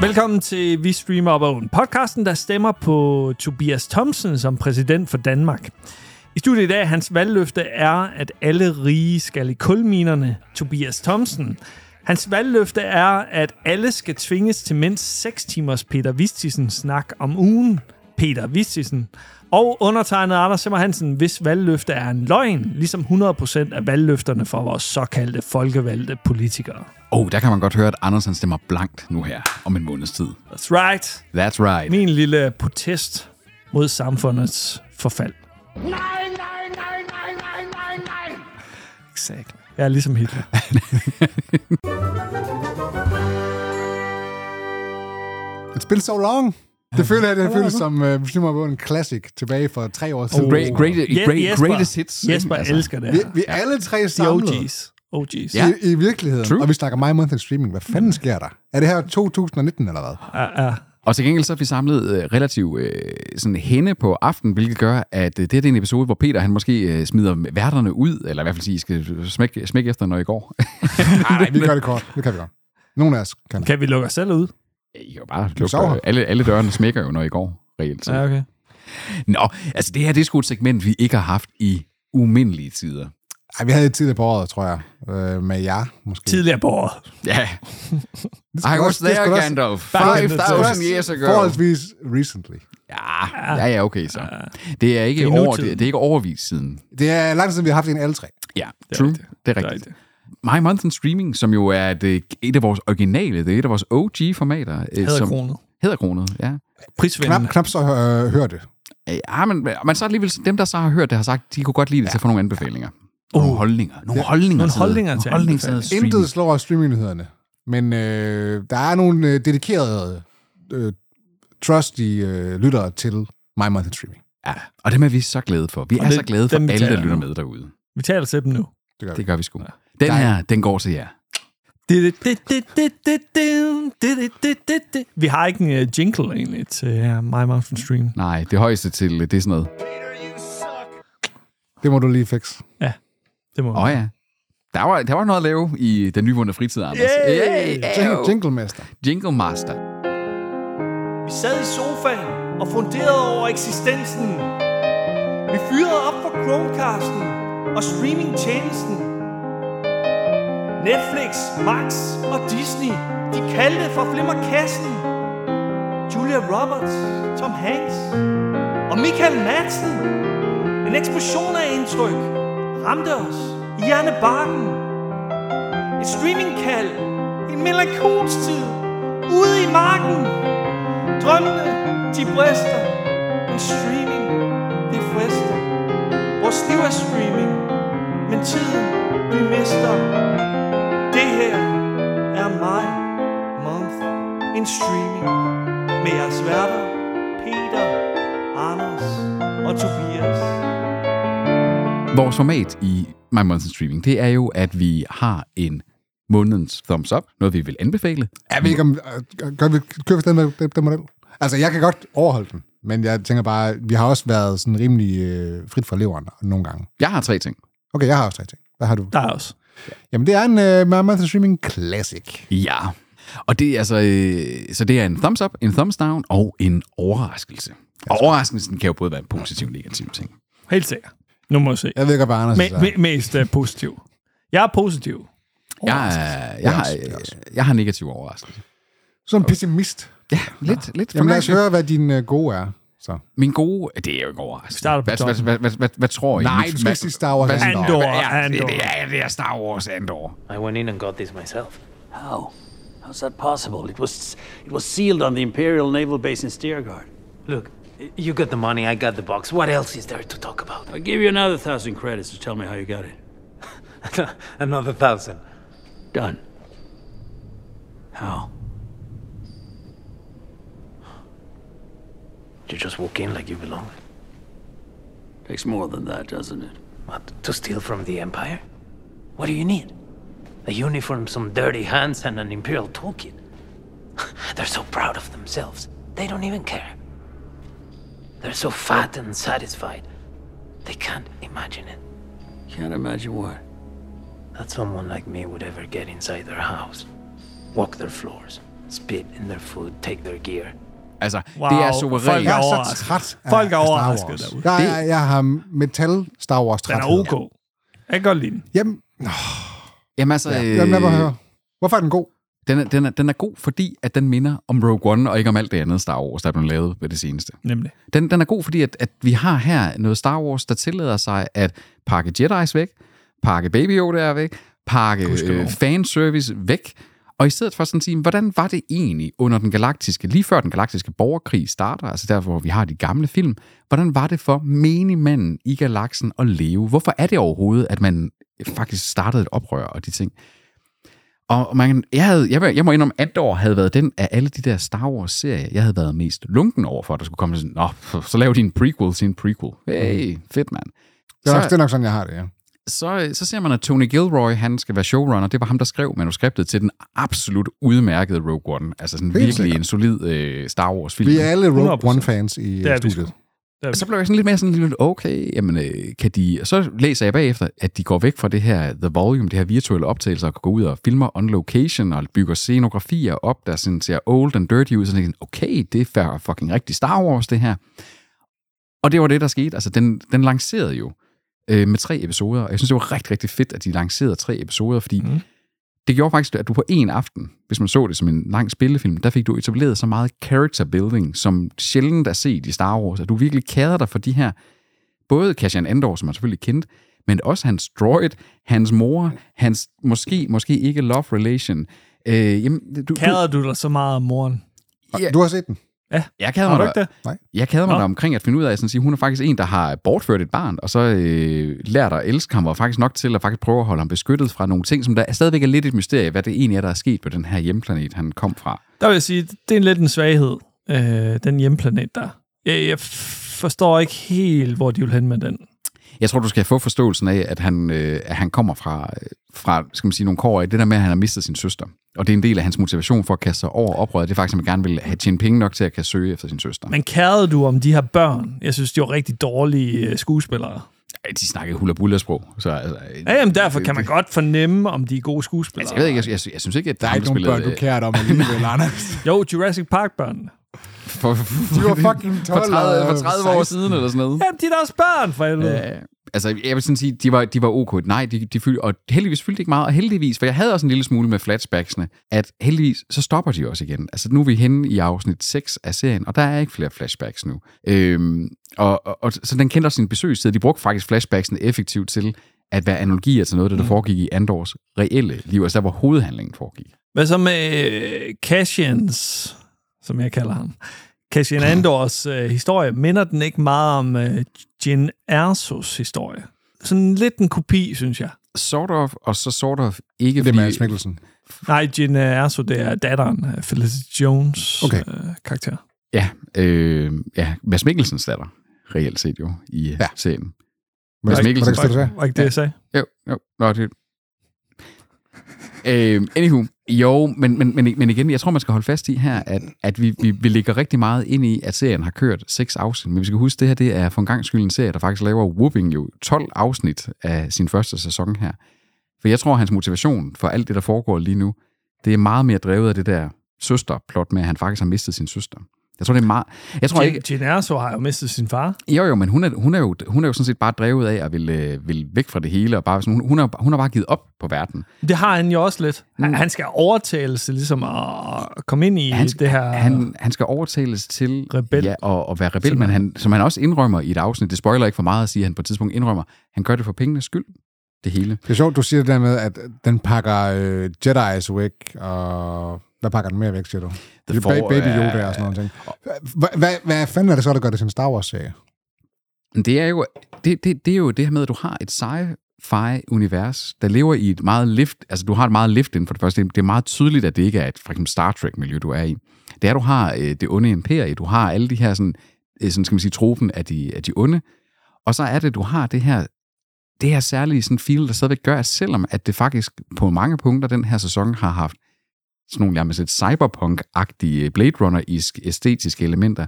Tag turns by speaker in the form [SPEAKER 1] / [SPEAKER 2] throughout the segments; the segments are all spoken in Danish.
[SPEAKER 1] Velkommen til Vi Streamer Op Oven, podcasten, der stemmer på Tobias Thomsen som præsident for Danmark. I studiet i dag, hans valgløfte er, at alle rige skal i kulminerne, Tobias Thomsen. Hans valgløfte er, at alle skal tvinges til mindst 6 timers Peter Vistisen snak om ugen. Peter Vistisen. Og undertegnet Anders Simmer Hansen, hvis valgløfte er en løgn, ligesom 100% af valgløfterne for vores såkaldte folkevalgte politikere.
[SPEAKER 2] Åh, oh, der kan man godt høre, at Anders han stemmer blankt nu her om en måneds tid.
[SPEAKER 1] That's right.
[SPEAKER 2] That's right.
[SPEAKER 1] Min lille protest mod samfundets forfald.
[SPEAKER 3] Nein, nein, nein, nein, nein, nein, nein!
[SPEAKER 1] Exakt. Jeg er ligesom Hitler.
[SPEAKER 4] It's been so long. Det føler jeg, det Oh, føles som uh, Muslimer på en classic tilbage for tre år siden.
[SPEAKER 2] Great, great, great, greatest hits.
[SPEAKER 1] Jesper
[SPEAKER 2] altså.
[SPEAKER 1] altså, elsker det
[SPEAKER 4] Vi,
[SPEAKER 1] her.
[SPEAKER 4] vi er alle tre
[SPEAKER 1] De
[SPEAKER 4] samlet
[SPEAKER 1] OG's. OG's.
[SPEAKER 2] Ja.
[SPEAKER 1] Ja.
[SPEAKER 4] i, i virkeligheden,
[SPEAKER 2] True.
[SPEAKER 4] True. Mm. og vi snakker My Month in Streaming. Hvad fanden sker der? Er det her 2019 eller hvad?
[SPEAKER 1] Ja,
[SPEAKER 2] Og til gengæld så har vi samlet øh, relativt øh, sådan henne på aften, hvilket gør, at øh, det her det er en episode, hvor Peter han måske øh, smider værterne ud, eller i hvert fald siger, I skal smække, smække efter, når I går.
[SPEAKER 4] Nej, vi gør det kort. Det kan vi godt. Nogle af os kan det.
[SPEAKER 1] Kan vi lukke os selv ud?
[SPEAKER 2] I kan jo bare
[SPEAKER 4] sover.
[SPEAKER 2] lukke, alle, alle dørene smækker jo, når I går, reelt. set.
[SPEAKER 1] okay.
[SPEAKER 2] Nå, altså det her det er sgu et segment, vi ikke har haft i umindelige tider.
[SPEAKER 4] Ej, vi havde et tidligere på året, tror jeg. Øh, med jer, måske.
[SPEAKER 1] Tidligere på året.
[SPEAKER 2] Ja,
[SPEAKER 4] Det
[SPEAKER 2] I
[SPEAKER 4] skal
[SPEAKER 2] was
[SPEAKER 4] også- det skal
[SPEAKER 2] there,
[SPEAKER 4] også-
[SPEAKER 2] Gandalf,
[SPEAKER 4] det skal også
[SPEAKER 2] 5,000 years ago.
[SPEAKER 4] Forholdsvis recently.
[SPEAKER 2] Ja, ja, ja, okay så. Det er ikke,
[SPEAKER 1] Det er
[SPEAKER 2] over,
[SPEAKER 1] nutiden.
[SPEAKER 2] det, det er ikke overvist siden.
[SPEAKER 4] Det er lang tid siden, vi har haft en alle tre.
[SPEAKER 2] Ja, true. Det er rigtigt. My Month in Streaming, som jo er et, et af vores originale, det er et af vores OG-formater. øh, som-
[SPEAKER 1] Hæderkronet.
[SPEAKER 2] Hæderkronet, ja.
[SPEAKER 4] Knap,
[SPEAKER 1] Prisvindende.
[SPEAKER 4] knap så øh, hører det.
[SPEAKER 2] Øh, Ja, men, men så alligevel, dem der så har hørt det, har sagt, de kunne godt lide det, så får nogle anbefalinger. Nogle holdninger. Nogle holdninger
[SPEAKER 1] Uh. Nogle
[SPEAKER 2] til det.
[SPEAKER 1] holdninger til
[SPEAKER 2] Nogle holdninger til
[SPEAKER 1] anbefalinger.
[SPEAKER 2] streaming.
[SPEAKER 4] Intet slår streamingnyhederne, men øh, der er nogle øh, dedikerede, øh, trusty øh, lyttere til My Month in Streaming.
[SPEAKER 2] Ja, og dem er vi så glade for. Vi er
[SPEAKER 1] det-
[SPEAKER 2] så glade for
[SPEAKER 1] dem
[SPEAKER 2] alle, der
[SPEAKER 1] betaler
[SPEAKER 2] lytter
[SPEAKER 1] nu.
[SPEAKER 2] med derude.
[SPEAKER 1] Vi taler til dem nu.
[SPEAKER 4] Det gør
[SPEAKER 2] Det
[SPEAKER 4] vi.
[SPEAKER 2] gør vi sgu. Den her, den går til jer.
[SPEAKER 1] Vi har ikke en øh, jingle egentlig til øh, My Mountain Stream.
[SPEAKER 2] Nej, det højeste til, det er sådan noget.
[SPEAKER 4] Det må du lige fikse.
[SPEAKER 1] Ja, det må
[SPEAKER 2] Åh oh, ja. Der var, der var noget at lave i den nyvundne fritid, Anders.
[SPEAKER 1] Yay!
[SPEAKER 2] Yeah.
[SPEAKER 4] Jing- Jinglemester.
[SPEAKER 2] Jingle Master.
[SPEAKER 5] Vi sad i sofaen og funderede over eksistensen. Vi fyrede op for Chromecasten og streamingtjenesten. Netflix, Max og Disney, de kaldte for flimmerkassen. Julia Roberts, Tom Hanks og Michael Madsen. En eksplosion af indtryk ramte os i hjernebarken. Et streamingkald, en melankolsk tid, ude i marken. Drømmene, de brister. Men streaming, det frister. Vores liv er streaming, men tiden, vi mister. Det her er mig, month in streaming. Med jeres værter, Peter, Anders og Tobias.
[SPEAKER 2] Vores format i My Month in Streaming, det er jo, at vi har en månedens thumbs up, noget vi vil anbefale.
[SPEAKER 4] Jeg ved ikke, om, øh, gør vi, kører vi stadig med den, den model? Altså, jeg kan godt overholde den, men jeg tænker bare, vi har også været sådan rimelig øh, frit fra leveren nogle gange.
[SPEAKER 2] Jeg har tre ting.
[SPEAKER 4] Okay, jeg har også tre ting. Hvad har du?
[SPEAKER 1] Der er også.
[SPEAKER 4] Jamen, det er en øh, My Month in Streaming Classic.
[SPEAKER 2] Ja. Og det er altså, øh, så det er en thumbs up, en thumbs down og en overraskelse. Og overraskelsen kan jo både være en positiv og negativ ting.
[SPEAKER 1] Helt sikkert. Nu må vi se.
[SPEAKER 4] Jeg ved godt, hvad Anders
[SPEAKER 1] Me-
[SPEAKER 4] er.
[SPEAKER 1] me- Mest øh, positiv. Jeg er positiv.
[SPEAKER 2] Jeg, er- jeg, har,
[SPEAKER 4] Det er også- det er også.
[SPEAKER 2] øh, jeg har en negativ overraskelse.
[SPEAKER 4] Som pessimist.
[SPEAKER 2] Ja, lidt, lidt.
[SPEAKER 4] Jamen, lad os
[SPEAKER 2] fornøjelse.
[SPEAKER 4] høre, hvad din øh, gode er. Så.
[SPEAKER 2] Min gode... Det er jo ikke overraskende.
[SPEAKER 1] starter på
[SPEAKER 2] hvad,
[SPEAKER 1] toppen.
[SPEAKER 2] hvad, hvad, hvad, hvad, hvad, tror I?
[SPEAKER 4] Nej,
[SPEAKER 2] Mit-
[SPEAKER 4] du skal ikke sige Star Wars.
[SPEAKER 2] hvad-
[SPEAKER 4] Andor.
[SPEAKER 2] Hvad-
[SPEAKER 1] Andor.
[SPEAKER 2] Ja, det, det, er, det er Star Wars Andor.
[SPEAKER 6] I went in and got this myself.
[SPEAKER 7] How? How's that possible? It was it was sealed on the Imperial Naval Base in Steerguard.
[SPEAKER 6] Look, y- you got the money, I got the box. What else is there to talk about?
[SPEAKER 7] I'll give you another thousand credits to tell me how you got it.
[SPEAKER 6] Another thousand.
[SPEAKER 7] Done. How?
[SPEAKER 6] You just walk in like you belong.
[SPEAKER 7] Takes more than that, doesn't it?
[SPEAKER 6] What? To steal from the Empire? What do you need? A uniform, some dirty hands, and an Imperial toolkit. They're so proud of themselves. They don't even care. They're so fat and satisfied. They can't imagine it
[SPEAKER 7] Can't imagine what.
[SPEAKER 6] that someone like me would ever get inside their house, walk their floors, spit in their food, take their gear.
[SPEAKER 2] Altså, wow.
[SPEAKER 1] Wow.
[SPEAKER 2] det er
[SPEAKER 1] Folk
[SPEAKER 2] suverænt.
[SPEAKER 1] er
[SPEAKER 4] Jeg er så
[SPEAKER 1] overrasket.
[SPEAKER 4] træt af,
[SPEAKER 1] Folk er
[SPEAKER 4] af Star
[SPEAKER 1] overrasket
[SPEAKER 4] Wars.
[SPEAKER 1] derude.
[SPEAKER 4] Jeg, jeg, jeg har metal Star Wars
[SPEAKER 1] Den
[SPEAKER 4] træt.
[SPEAKER 1] er ok. Jeg kan godt lide den.
[SPEAKER 4] Jamen,
[SPEAKER 2] Jamen altså,
[SPEAKER 4] ja.
[SPEAKER 2] øh,
[SPEAKER 4] Jamen lad mig høre. Hvorfor er den god?
[SPEAKER 2] Den, er, den, er, den er god, fordi at den minder om Rogue One, og ikke om alt det andet Star Wars, der er blevet lavet ved det seneste.
[SPEAKER 1] Nemlig.
[SPEAKER 2] Den, den er god, fordi at, at vi har her noget Star Wars, der tillader sig at pakke Jedi's væk, pakke Baby Yoda væk, pakke
[SPEAKER 1] Gudskelov.
[SPEAKER 2] øh, fanservice væk, og i stedet for sådan at sige, hvordan var det egentlig under den galaktiske, lige før den galaktiske borgerkrig starter, altså der, hvor vi har de gamle film, hvordan var det for menigmanden i galaksen at leve? Hvorfor er det overhovedet, at man faktisk startede et oprør og de ting? Og man, jeg, havde, jeg, var- jeg må indrømme, at Andor havde været den af alle de der Star Wars-serier, jeg havde været mest lunken over for, at der skulle komme sådan, Nå, pff, så lav din prequel til en prequel. Hey, fedt mand.
[SPEAKER 4] Det er, nok,
[SPEAKER 2] Så-
[SPEAKER 4] det er nok sådan, jeg har det, ja.
[SPEAKER 2] Så, så ser man, at Tony Gilroy, han skal være showrunner. Det var ham, der skrev manuskriptet til den absolut udmærkede Rogue One. Altså sådan
[SPEAKER 4] Helt
[SPEAKER 2] virkelig
[SPEAKER 4] sikkert.
[SPEAKER 2] en solid øh, Star Wars-film.
[SPEAKER 4] Vi er alle
[SPEAKER 1] 100%.
[SPEAKER 4] Rogue One-fans i øh,
[SPEAKER 1] Det er vi
[SPEAKER 4] studiet.
[SPEAKER 1] Der,
[SPEAKER 2] Og så blev jeg sådan lidt mere sådan lidt, okay, jamen, øh, kan de... Og så læser jeg bagefter, at de går væk fra det her The Volume, det her virtuelle optagelse, og går ud og filmer on location, og bygger scenografier op, der sådan ser old and dirty ud, så tænker jeg, okay, det er fair fucking rigtig Star Wars, det her. Og det var det, der skete. Altså, den, den lancerede jo øh, med tre episoder, og jeg synes, det var rigtig, rigtig fedt, at de lancerede tre episoder, fordi mm. det gjorde faktisk, at du på en aften, hvis man så det som en lang spillefilm, der fik du etableret så meget character building, som sjældent er set i Star Wars, at du virkelig kæder dig for de her, både Cassian Andor, som man selvfølgelig kendte, men også hans droid, hans mor, hans måske, måske ikke love relation. Øh, jamen, du, du,
[SPEAKER 1] Kærede du dig så meget om moren?
[SPEAKER 4] Og
[SPEAKER 2] Ja.
[SPEAKER 4] Du har set den.
[SPEAKER 2] jeg kæder
[SPEAKER 1] Har
[SPEAKER 2] mig
[SPEAKER 1] du
[SPEAKER 2] da-
[SPEAKER 1] ikke det?
[SPEAKER 2] jeg kæder mig
[SPEAKER 1] Nå.
[SPEAKER 2] da omkring at finde ud af, at sådan at sige, hun er faktisk en, der har bortført et barn, og så øh, lært at elske ham, og faktisk nok til at faktisk prøve at holde ham beskyttet fra nogle ting, som der stadigvæk er lidt et mysterie, hvad det egentlig er, der er sket på den her hjemplanet, han kom fra.
[SPEAKER 1] Der vil jeg sige, det er lidt en svaghed, øh, den hjemplanet der. Jeg, jeg forstår ikke helt, hvor de vil hen med den.
[SPEAKER 2] Jeg tror, du skal få forståelsen af, at han, øh, at han kommer fra, øh, fra skal man sige, nogle kår af det der med, at han har mistet sin søster. Og det er en del af hans motivation for at kaste sig over oprøret. Det er faktisk, at han gerne vil have tjent penge nok til at kan søge efter sin søster.
[SPEAKER 1] Men kærede du om de her børn? Jeg synes, de var rigtig dårlige øh, skuespillere.
[SPEAKER 2] Ej, De snakkede hulabulla-sprog. Så, altså, øh,
[SPEAKER 1] Ja, jamen, derfor kan man
[SPEAKER 2] det-
[SPEAKER 1] godt fornemme, om de er gode skuespillere.
[SPEAKER 2] Altså, jeg ved ikke, jeg, jeg, jeg synes ikke, at
[SPEAKER 4] Der er ikke nogen børn, du kærer dig om alligevel, Anders.
[SPEAKER 1] Jo, Jurassic Park-børn.
[SPEAKER 2] øh, For, for,
[SPEAKER 4] De var fucking øh, 12
[SPEAKER 2] for 30, for
[SPEAKER 4] og
[SPEAKER 2] 30 år
[SPEAKER 4] 16.
[SPEAKER 2] siden eller sådan noget.
[SPEAKER 1] Jamen, de er da også børn, for helvede. Ja.
[SPEAKER 2] Øh, altså, jeg vil sådan sige, de var, de var ok. Nej, de, de fyldte, og heldigvis fyldte de ikke meget, og heldigvis, for jeg havde også en lille smule med flashbacksene, at heldigvis, så stopper de også igen. Altså, nu er vi henne i afsnit 6 af serien, og der er ikke flere flashbacks nu. Øhm, og, og, og, så den kendte også sin besøgstid. De brugte faktisk flashbacksene effektivt til at være analogier til noget, der, der
[SPEAKER 4] Mm.
[SPEAKER 2] foregik i Andors reelle liv, altså der, hvor hovedhandlingen foregik.
[SPEAKER 1] Hvad så med øh, Cassians, som jeg kalder ham? Cassian Andors øh, historie, minder den ikke meget om øh, Jin Ersos historie? Sådan lidt en kopi, synes jeg.
[SPEAKER 2] Sort of, og så sort of ikke,
[SPEAKER 4] Det er Mads
[SPEAKER 2] fordi-
[SPEAKER 4] Mikkelsen.
[SPEAKER 1] Nej, Jin Erso, det er datteren af Felicity Jones
[SPEAKER 4] Okay.
[SPEAKER 1] øh, karakter.
[SPEAKER 2] Ja, øh, ja Mads Mikkelsens datter, reelt set jo, i ja.
[SPEAKER 4] Ja.
[SPEAKER 2] serien.
[SPEAKER 4] Men
[SPEAKER 2] Mads
[SPEAKER 4] det-
[SPEAKER 2] Mikkelsen.
[SPEAKER 4] hvordan skal det være?
[SPEAKER 1] Var ikke det, jeg sagde?
[SPEAKER 2] Jo, jo, nå, det... Øh, anywho, jo, men, men, men, men igen, jeg tror, man skal holde fast i her, at, at vi, vi, vi ligger rigtig meget ind i, at serien har kørt seks afsnit, men vi skal huske, det her det er for en gang skyld en serie, der faktisk laver Whooping jo 12 afsnit af sin første sæson her. For jeg tror, hans motivation for alt det, der foregår lige nu, det er meget mere drevet af det der søsterplot med, at han faktisk har mistet sin søster. Jeg tror, det er meget... Jeg tror
[SPEAKER 1] Jin,
[SPEAKER 2] ikke...
[SPEAKER 1] Jin Erso har jo mistet sin far.
[SPEAKER 2] Jo, jo, men hun er, hun er, jo, hun er jo sådan set bare drevet af at vil, øh, vil væk fra det hele, og bare, sådan, hun, hun, har, hun har bare givet op på verden.
[SPEAKER 1] Det har han jo også lidt.
[SPEAKER 2] Mm.
[SPEAKER 1] Han, han skal overtales til ligesom at komme ind i
[SPEAKER 2] Han,
[SPEAKER 1] det her...
[SPEAKER 2] han, han skal overtales til
[SPEAKER 1] Rebel.
[SPEAKER 2] Ja, og, og være rebel, men han, som han også indrømmer i et afsnit, det spoiler ikke for meget at sige, at han på et tidspunkt indrømmer, han gør det for pengenes skyld, det hele.
[SPEAKER 4] Det er sjovt, du siger det der med, at den pakker øh, Jedi's væk, og hvad pakker den mere væk, siger du? The
[SPEAKER 2] Four,
[SPEAKER 4] ba- Baby
[SPEAKER 2] ja,
[SPEAKER 4] Yoda og sådan noget. Hvad, hvad, hvad fanden er det så, der gør det til en Star Wars-serie?
[SPEAKER 2] Men Det er jo det, det, det, er jo det her med, at du har et sci-fi-univers, der lever i et meget lift, altså du har et meget lift inden for det første. Det er meget tydeligt, at det ikke er et for eksempel Star Trek-miljø, du er i. Det er, du har øh, det onde imperie, du har alle de her sådan, øh, sådan skal man sige, tropen af de, af de onde, og så er det, du har det her det her særlige sådan feel, der stadigvæk gør, at selvom at det faktisk på mange punkter den her sæson har haft sådan nogle nærmest lidt cyberpunk-agtige øh, Blade Runner-æstetiske elementer,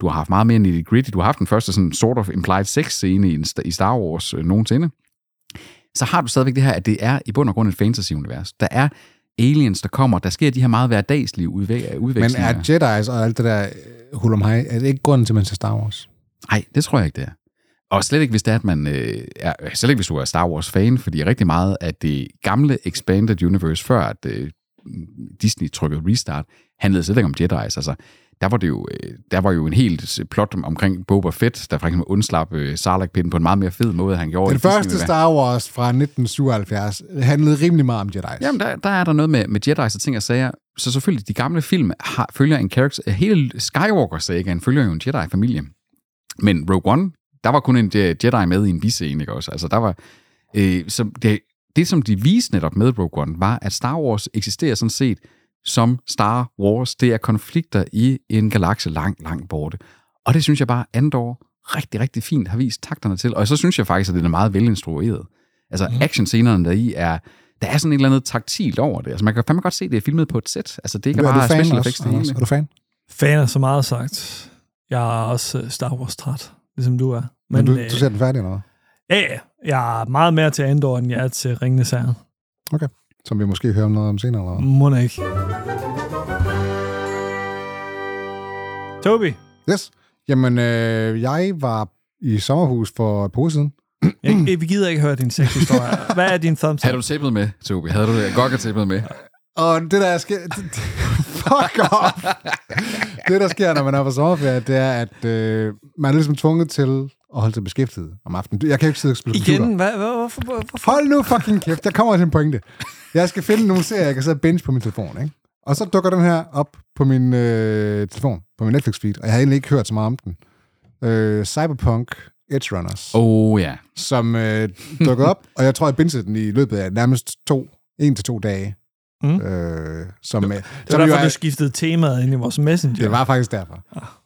[SPEAKER 2] du har haft meget mere nitty gritty, du har haft den første sådan sort of implied sex scene i, en, sta- i Star Wars øh, nogensinde, så har du stadigvæk det her, at det er i bund og grund et fantasy-univers. Der er aliens, der kommer. Der sker de her meget hverdagslige udvæ-
[SPEAKER 4] Men
[SPEAKER 2] udvekslinger.
[SPEAKER 4] er Jedi's og alt det der øh, hulumhej, er det ikke grunden til, at man ser Star Wars?
[SPEAKER 2] Nej, det tror jeg ikke, det er. Og slet ikke, hvis det er, at man øh, er, slet ikke, hvis du er Star Wars-fan, fordi rigtig meget af det gamle Expanded Universe, før at øh, Disney trykkede Restart, handlede slet ikke om Jedi's. Altså, der var, det jo, øh, der var jo en helt øh, plot omkring Boba Fett, der for eksempel undslap øh, Sarlacc-pinden på en meget mere fed måde, han gjorde. i
[SPEAKER 4] Den første
[SPEAKER 2] Disney-universet.
[SPEAKER 4] Star Wars fra 1977 handlede rimelig meget om Jedi's.
[SPEAKER 2] Jamen, der, der er der noget med, med Jedi's og ting og sager. Så selvfølgelig, de gamle film har, følger en karakter... Hele Skywalker-sagaen følger jo en Jedi-familie. Men Rogue One, der var kun en Je- Jedi med i en biscene, ikke også? Altså, der var... Øh, så det, det, som de viste netop med Rogue One, var, at Star Wars eksisterer sådan set som Star Wars. Det er konflikter i en galakse langt, langt borte. Og det synes jeg bare, Andor rigtig, rigtig fint har vist takterne til. Og så synes jeg faktisk, at den er meget velinstrueret. Altså,
[SPEAKER 4] Mhm.
[SPEAKER 2] actionscenerne deri er... Der er sådan et eller andet taktilt over det. Altså, man kan fandme godt se, at det er filmet på et sæt. Altså, det er ikke
[SPEAKER 4] er
[SPEAKER 2] bare
[SPEAKER 4] du fan
[SPEAKER 2] special
[SPEAKER 4] også,
[SPEAKER 2] effects det
[SPEAKER 4] Anders?
[SPEAKER 2] hele.
[SPEAKER 4] Er du fan?
[SPEAKER 1] Fan er så meget sagt. Jeg er også øh, Star Wars-træt, ligesom du er.
[SPEAKER 4] Men, Men du,
[SPEAKER 1] øh,
[SPEAKER 4] du ser den færdig eller hvad?
[SPEAKER 1] ja, ja. jeg er meget mere til Andor, end jeg er til Ringende Særen.
[SPEAKER 4] Som vi måske hører om noget om senere, eller hvad?
[SPEAKER 1] Må da ikke. Toby,
[SPEAKER 4] Yes. Jamen, øh, jeg var i sommerhus for et par uger siden.
[SPEAKER 1] jeg, vi gider ikke høre din sexhistorie. Hvad er din thumbs up?
[SPEAKER 2] Havde du tæppet med, Tobi? Havde du det? Godt tæppet med.
[SPEAKER 4] Og det, der er sker... det- Fuck off! det, der sker, når man er på sommerferie, det er, at øh, man er ligesom tvunget til at holde sig beskæftiget om aftenen. Jeg kan jo ikke sidde og spille computer.
[SPEAKER 1] Igen? Hvad, hvad, hvorfor, hvorfor?
[SPEAKER 4] Hold nu fucking kæft, der kommer til en pointe. Jeg skal finde nogle serier, jeg kan sidde og binge på min telefon, ikke? Og så dukker den her op på min øh, telefon, på min Netflix-feed, og jeg havde egentlig ikke hørt så meget om den. Øh, Cyberpunk Edge Runners, oh.
[SPEAKER 2] Åh, oh, ja.
[SPEAKER 4] som øh, dukkede op, og jeg tror, jeg bingede den i løbet af nærmest to, en til to dage.
[SPEAKER 1] Mm.
[SPEAKER 4] Øh, som, øh,
[SPEAKER 1] Det var derfor, du skiftede temaet ind i vores messenger
[SPEAKER 4] det var faktisk derfor.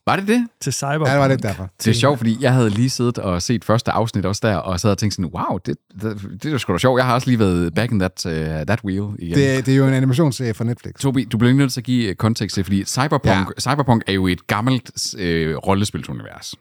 [SPEAKER 2] Var det det?
[SPEAKER 1] til cyber.
[SPEAKER 4] Ja, det var lidt derfor.
[SPEAKER 2] Det er sjovt, fordi jeg havde lige siddet og set første afsnit også der, og sad og tænkte sådan, wow, det, det, det er da sgu da sjovt. Jeg har også lige været back in that, uh, that wheel igen. Det...
[SPEAKER 4] Det, det er jo en animationsserie fra Netflix.
[SPEAKER 2] Tobi, du bliver nødt til at give øh, kontekst til, fordi Cyberpunk, ja.
[SPEAKER 4] Ja.
[SPEAKER 2] Cyberpunk er jo et gammelt øh, rollespilsunivers.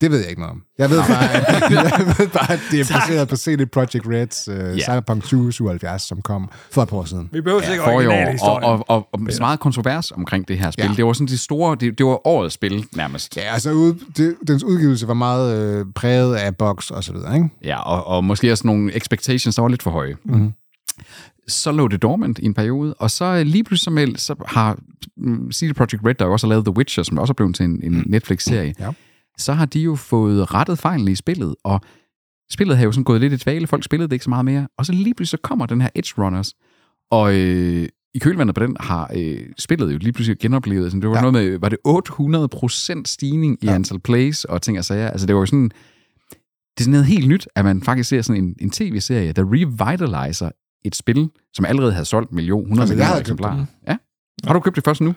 [SPEAKER 4] Det ved jeg ikke noget om. Jeg ved bare, at, jeg ved bare, at det er baseret på CD Projekt Reds uh, yeah. Cyberpunk 2077, som kom for et par år siden.
[SPEAKER 1] Vi behøver ja, ikke
[SPEAKER 2] For i
[SPEAKER 1] originale
[SPEAKER 2] år, og,
[SPEAKER 1] historier.
[SPEAKER 2] og, og, og meget kontrovers omkring det her spil. Ja.
[SPEAKER 4] Ja.
[SPEAKER 2] Det var sådan de store, det, det var årets spil nærmest.
[SPEAKER 4] Ja, altså ud, det, dens udgivelse var meget øh, præget af box og så videre, ikke?
[SPEAKER 2] Ja, og, og måske også nogle expectations, der var lidt for høje. Mm-hmm. Så lå det dormant i en periode, og så øh, lige pludselig så, meld, så har mm, CD Projekt Red, der jo også har lavet The Witcher, som også er blevet til en, en Netflix-serie,
[SPEAKER 4] Ja.
[SPEAKER 2] så har de jo fået rettet fejlene i spillet, og spillet har jo sådan gået lidt i dvale, folk spillede det ikke så meget mere, og så lige pludselig så kommer den her Edge Runners, og øh, i kølvandet på den har øh, spillet jo lige pludselig genoplevet, sådan, det var ja. noget med, var det 800% stigning i ja. antal plays og ting og sager, altså det var jo sådan, det er sådan noget helt nyt, at man faktisk ser sådan en, en tv-serie, der revitaliser et spil, som allerede havde solgt million, 100
[SPEAKER 4] Altså, jeg
[SPEAKER 2] millioner
[SPEAKER 4] havde købt
[SPEAKER 2] eksemplarer. Ja. Har du købt det først nu?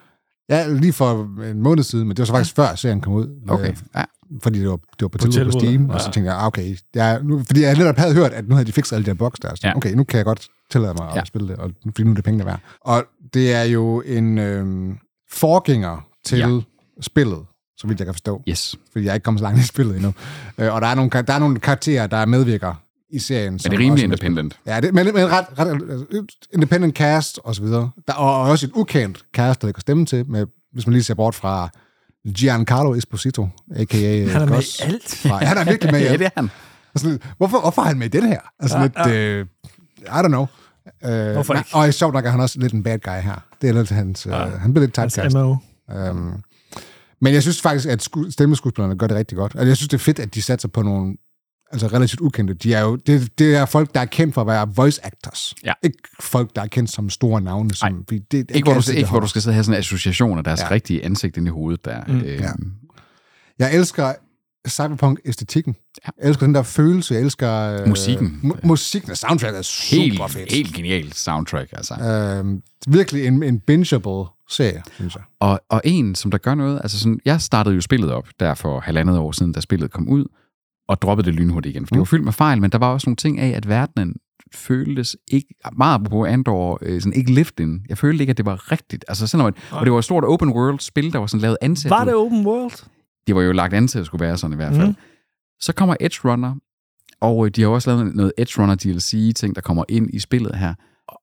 [SPEAKER 4] Ja, lige for en måned siden, men det var så faktisk før serien kom ud.
[SPEAKER 2] Okay.
[SPEAKER 4] Øh,
[SPEAKER 2] Ja.
[SPEAKER 4] fordi det var, det var på tilbud på
[SPEAKER 1] tilbud,
[SPEAKER 4] Steam, ja. og så tænkte jeg, ah, okay, jeg, er- nu, fordi jeg netop havde hørt, at nu havde de fikset alle de her boks der, så
[SPEAKER 2] Ja.
[SPEAKER 4] ja. okay, nu kan jeg godt tillade mig at
[SPEAKER 2] Ja.
[SPEAKER 4] ja. spille det, og, fordi nu er det pengene værd. Og det er jo en øh, forgænger til
[SPEAKER 2] Ja.
[SPEAKER 4] ja. spillet, så vidt jeg kan forstå.
[SPEAKER 2] Yes.
[SPEAKER 4] fordi jeg er ikke kommet så langt i spillet endnu. Øh, og der er, nogle, kar- der er nogle karakterer, der medvirker i serien.
[SPEAKER 2] Men
[SPEAKER 4] som
[SPEAKER 2] det er rimelig
[SPEAKER 4] også-
[SPEAKER 2] independent.
[SPEAKER 4] Ja, det, men, men ret, ret altså, independent cast og så videre. Der, og, og også et ukendt cast, der kan stemme til, med, hvis man lige ser bort fra Giancarlo Esposito, a.k.a.
[SPEAKER 1] Han er med
[SPEAKER 4] Gus.
[SPEAKER 1] i alt.
[SPEAKER 4] Fra, han er virkelig med i
[SPEAKER 2] Ja,
[SPEAKER 4] alt.
[SPEAKER 2] det er han.
[SPEAKER 4] Og sådan lidt, hvorfor, hvorfor er han med i den her? Altså ja, lidt, ja. Øh, I don't know. Øh,
[SPEAKER 1] Hvorfor
[SPEAKER 4] nej,
[SPEAKER 1] ikke?
[SPEAKER 4] Og sjovt nok er han også lidt en bad guy her. Det er lidt hans... Ja. Øh, han bliver lidt typecast.
[SPEAKER 1] Hans MO.
[SPEAKER 4] Øhm, men jeg synes faktisk, at sku- stemmeskuespillerne gør det rigtig godt. Altså, jeg synes, det er fedt, at de satser på nogle altså relativt ukendte. De er jo, det, det er folk, der er kendt for at være voice actors.
[SPEAKER 2] Ja.
[SPEAKER 4] Ikke folk, der er kendt som store navne. Som, fordi det, det,
[SPEAKER 2] Ikke hvor, du,
[SPEAKER 4] altid, det
[SPEAKER 2] ikke, hvor du
[SPEAKER 4] holder.
[SPEAKER 2] skal sidde og have sådan en association af deres ja.
[SPEAKER 4] Ja.
[SPEAKER 2] rigtige ansigt ind i hovedet der. Mm. Øh, ja.
[SPEAKER 4] Ja. Jeg elsker cyberpunk-æstetikken. Ja. Jeg elsker den der følelse. Jeg elsker... Øh,
[SPEAKER 2] Musikken.
[SPEAKER 4] mu- musikken og soundtracket er super
[SPEAKER 2] Helt,
[SPEAKER 4] fedt.
[SPEAKER 2] helt genialt soundtrack, altså.
[SPEAKER 4] Øhm, virkelig en, en bingeable serie, synes jeg.
[SPEAKER 2] Og, og en, som der gør noget, altså sådan, jeg startede jo spillet op der for halvandet år siden, da spillet kom ud, og droppede det lynhurtigt igen, for det var fyldt med fejl, men der var også nogle ting af, at verdenen føltes ikke, meget på Andor, øh, sådan ikke lift in. Jeg følte ikke, at det var rigtigt. Altså selvom, at, og det var et stort open world spil, der var sådan lavet ansat.
[SPEAKER 1] Var det open world?
[SPEAKER 2] det var jo lagt an til, at det skulle være sådan i hvert fald. Mm. Så kommer Edge Runner, og øh, de har jo også lavet noget Edge Runner DLC-ting, der kommer ind i spillet her.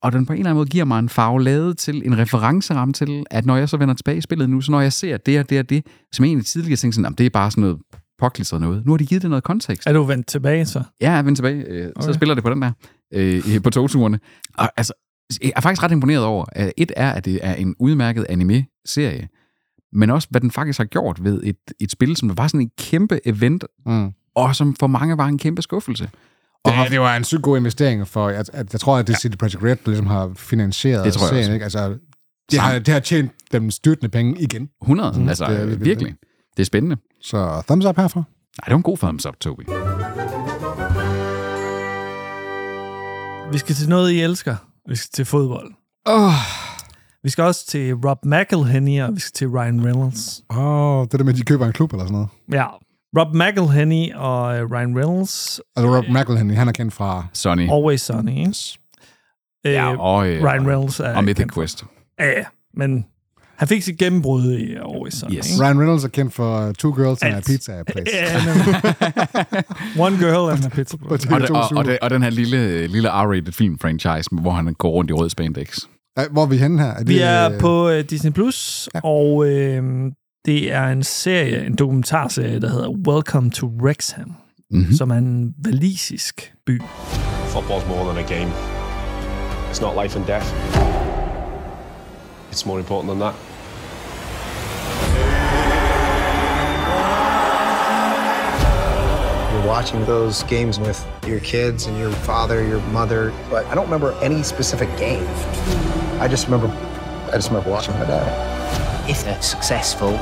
[SPEAKER 2] og den på en eller anden måde giver mig en farvelade til, en referenceramme til, at når jeg så vender tilbage i spillet nu, så når jeg ser det og det og det, som jeg egentlig tidligere tænkte sådan, "Jamen, det er bare sådan noget påklistret noget. Nu har de givet det noget kontekst.
[SPEAKER 1] Er du vendt tilbage så?
[SPEAKER 2] Ja, jeg vender tilbage. Øh, okay. Så spiller det på den der, øh, i- på togturene. Og altså, jeg er faktisk ret imponeret over, at et er, at det er en udmærket anime-serie, men også, hvad den faktisk har gjort ved et, et spil, som var sådan en kæmpe event,
[SPEAKER 4] Mm.
[SPEAKER 2] og som for mange var en kæmpe skuffelse. Og
[SPEAKER 4] Det, det var en sygt god investering, for at, at jeg tror, at det City Project Red der ligesom har finansieret
[SPEAKER 2] Det tror jeg også.
[SPEAKER 4] serien. Ikke? Altså, det, har, det har tjent dem styrtende penge igen.
[SPEAKER 2] 100, mm, altså
[SPEAKER 4] det er
[SPEAKER 2] det
[SPEAKER 4] lidt
[SPEAKER 2] virkelig. Det er spændende.
[SPEAKER 4] Så thumbs up herfra.
[SPEAKER 2] Nej, det var en god thumbs up, Tobi.
[SPEAKER 1] Vi skal til noget, I elsker. Vi skal til fodbold.
[SPEAKER 2] Oh.
[SPEAKER 1] Vi skal også til Rob McElhenney, og vi skal til Ryan Reynolds.
[SPEAKER 4] Åh, oh, det der med, at de køber en klub eller sådan noget.
[SPEAKER 1] Ja, Rob McElhenney og øh, Ryan Reynolds.
[SPEAKER 4] Altså Rob McElhenney, han er kendt fra...
[SPEAKER 2] Sonny.
[SPEAKER 1] Always Sunny, ikke? Øh,
[SPEAKER 2] Ja, og, øh,
[SPEAKER 1] Ryan Reynolds er...
[SPEAKER 2] og Mythic
[SPEAKER 1] kendt-
[SPEAKER 2] Quest.
[SPEAKER 1] Ja, ja, men han fik sit gennembrud i øh, Always Sunny,
[SPEAKER 2] Yes.
[SPEAKER 1] ikke?
[SPEAKER 4] Ryan Reynolds er kendt for uh, Two Girls and a
[SPEAKER 1] Alt.
[SPEAKER 4] Pizza Place.
[SPEAKER 1] Ja, nemlig. One girl and a pizza.
[SPEAKER 4] Og
[SPEAKER 1] Boy.
[SPEAKER 4] det
[SPEAKER 2] Og,
[SPEAKER 4] er
[SPEAKER 2] det,
[SPEAKER 4] to
[SPEAKER 2] og, og,
[SPEAKER 4] sure.
[SPEAKER 2] det, og den her lille, lille R-rated film-franchise, hvor han går rundt i rød spandex.
[SPEAKER 4] Ej, Hvor er vi henne her? Er
[SPEAKER 1] Vi
[SPEAKER 4] det,
[SPEAKER 1] er
[SPEAKER 4] øh,
[SPEAKER 1] på øh, Disney+, Plus, og øh, det er en serie, en dokumentarserie, der hedder Welcome to Wrexham,
[SPEAKER 2] Mhm.
[SPEAKER 1] mm-hmm. som er en valisisk by.
[SPEAKER 8] Football's more than a game. It's not life and death. It's more important than that.
[SPEAKER 9] You're watching those games with your kids and your father, your mother, but I don't remember any specific game. I just remember, I just remember watching my dad.
[SPEAKER 10] If they're successful,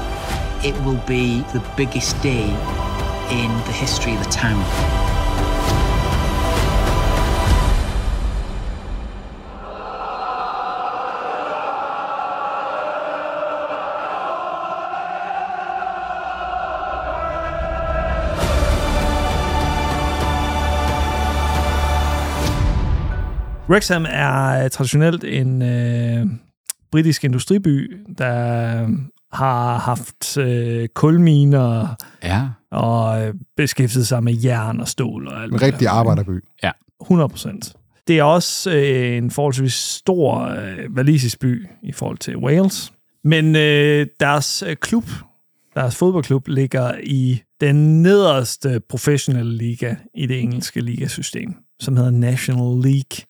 [SPEAKER 10] it will be the biggest day in the history of the town.
[SPEAKER 1] Wrexham er øh, traditionelt en øh, britisk industriby, der øh, har haft øh, kulminer
[SPEAKER 2] Ja.
[SPEAKER 1] og øh, beskæftiget sig med jern og stål og alt
[SPEAKER 4] En
[SPEAKER 1] det der.
[SPEAKER 4] rigtig arbejderby.
[SPEAKER 1] 100 procent. Det er også øh, en forholdsvis stor øh, valisisk by i forhold til Wales. Men øh, deres øh, klub, deres fodboldklub, ligger i den nederste professionelle liga i det engelske ligasystem, som hedder National League.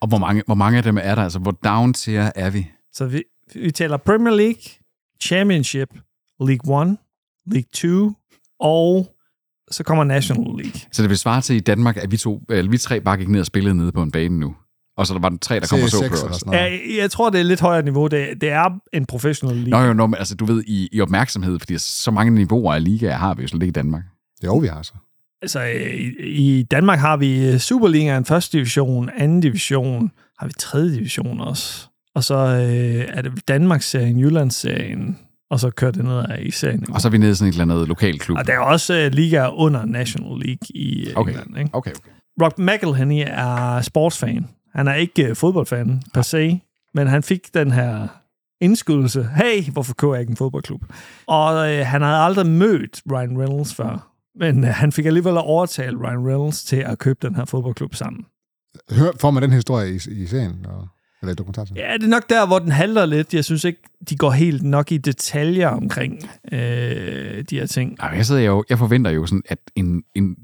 [SPEAKER 2] Og hvor mange, hvor mange af dem er der? Altså, hvor down tier er vi?
[SPEAKER 1] Så vi, vi taler Premier League, Championship, League One, League Two, og så kommer National League.
[SPEAKER 2] Så det vil svare til i Danmark, at vi, to, eller vi tre bare gik ned og spillede nede på en bane nu. Og så der var den tre, der kom og så
[SPEAKER 4] C6
[SPEAKER 2] på
[SPEAKER 4] eller
[SPEAKER 2] os.
[SPEAKER 4] sådan noget.
[SPEAKER 1] Jeg, jeg tror, det er lidt højere niveau. Det, det er en professional
[SPEAKER 2] Nå,
[SPEAKER 1] league.
[SPEAKER 2] jo, nå, men altså, du ved, i, i opmærksomhed, fordi så mange niveauer af ligaer har vi jo slet ikke i Danmark.
[SPEAKER 4] Jo, vi har så.
[SPEAKER 1] Altså, øh, i, i Danmark har vi øh, Superligaen, første division, anden division, har vi tredje division også. Og så øh, er det Danmarksserien, Jyllandsserien, og så kører det ned af i serien.
[SPEAKER 2] Og så er vi nede i sådan et eller andet lokal klub.
[SPEAKER 1] Og der er også øh, ligaer under National League i øh,
[SPEAKER 2] Okay.
[SPEAKER 1] England. Ikke?
[SPEAKER 2] Okay, okay.
[SPEAKER 1] Rob McElhenney er sportsfan. Han er ikke øh, fodboldfan per se, men han fik den her indskydelse. Hey, hvorfor køber jeg ikke en fodboldklub? Og øh, han havde aldrig mødt Ryan Reynolds før, men øh, han fik alligevel overtalt Ryan Reynolds til at købe den her fodboldklub sammen.
[SPEAKER 4] Hør, får man den historie i, i serien? Og, eller i dokumentarserien?
[SPEAKER 1] Ja, det er nok der, hvor den halter lidt. Jeg synes ikke, de går helt nok i detaljer omkring øh, de her ting.
[SPEAKER 2] Ej, men jeg, sidder jo, jeg forventer jo sådan, at en, en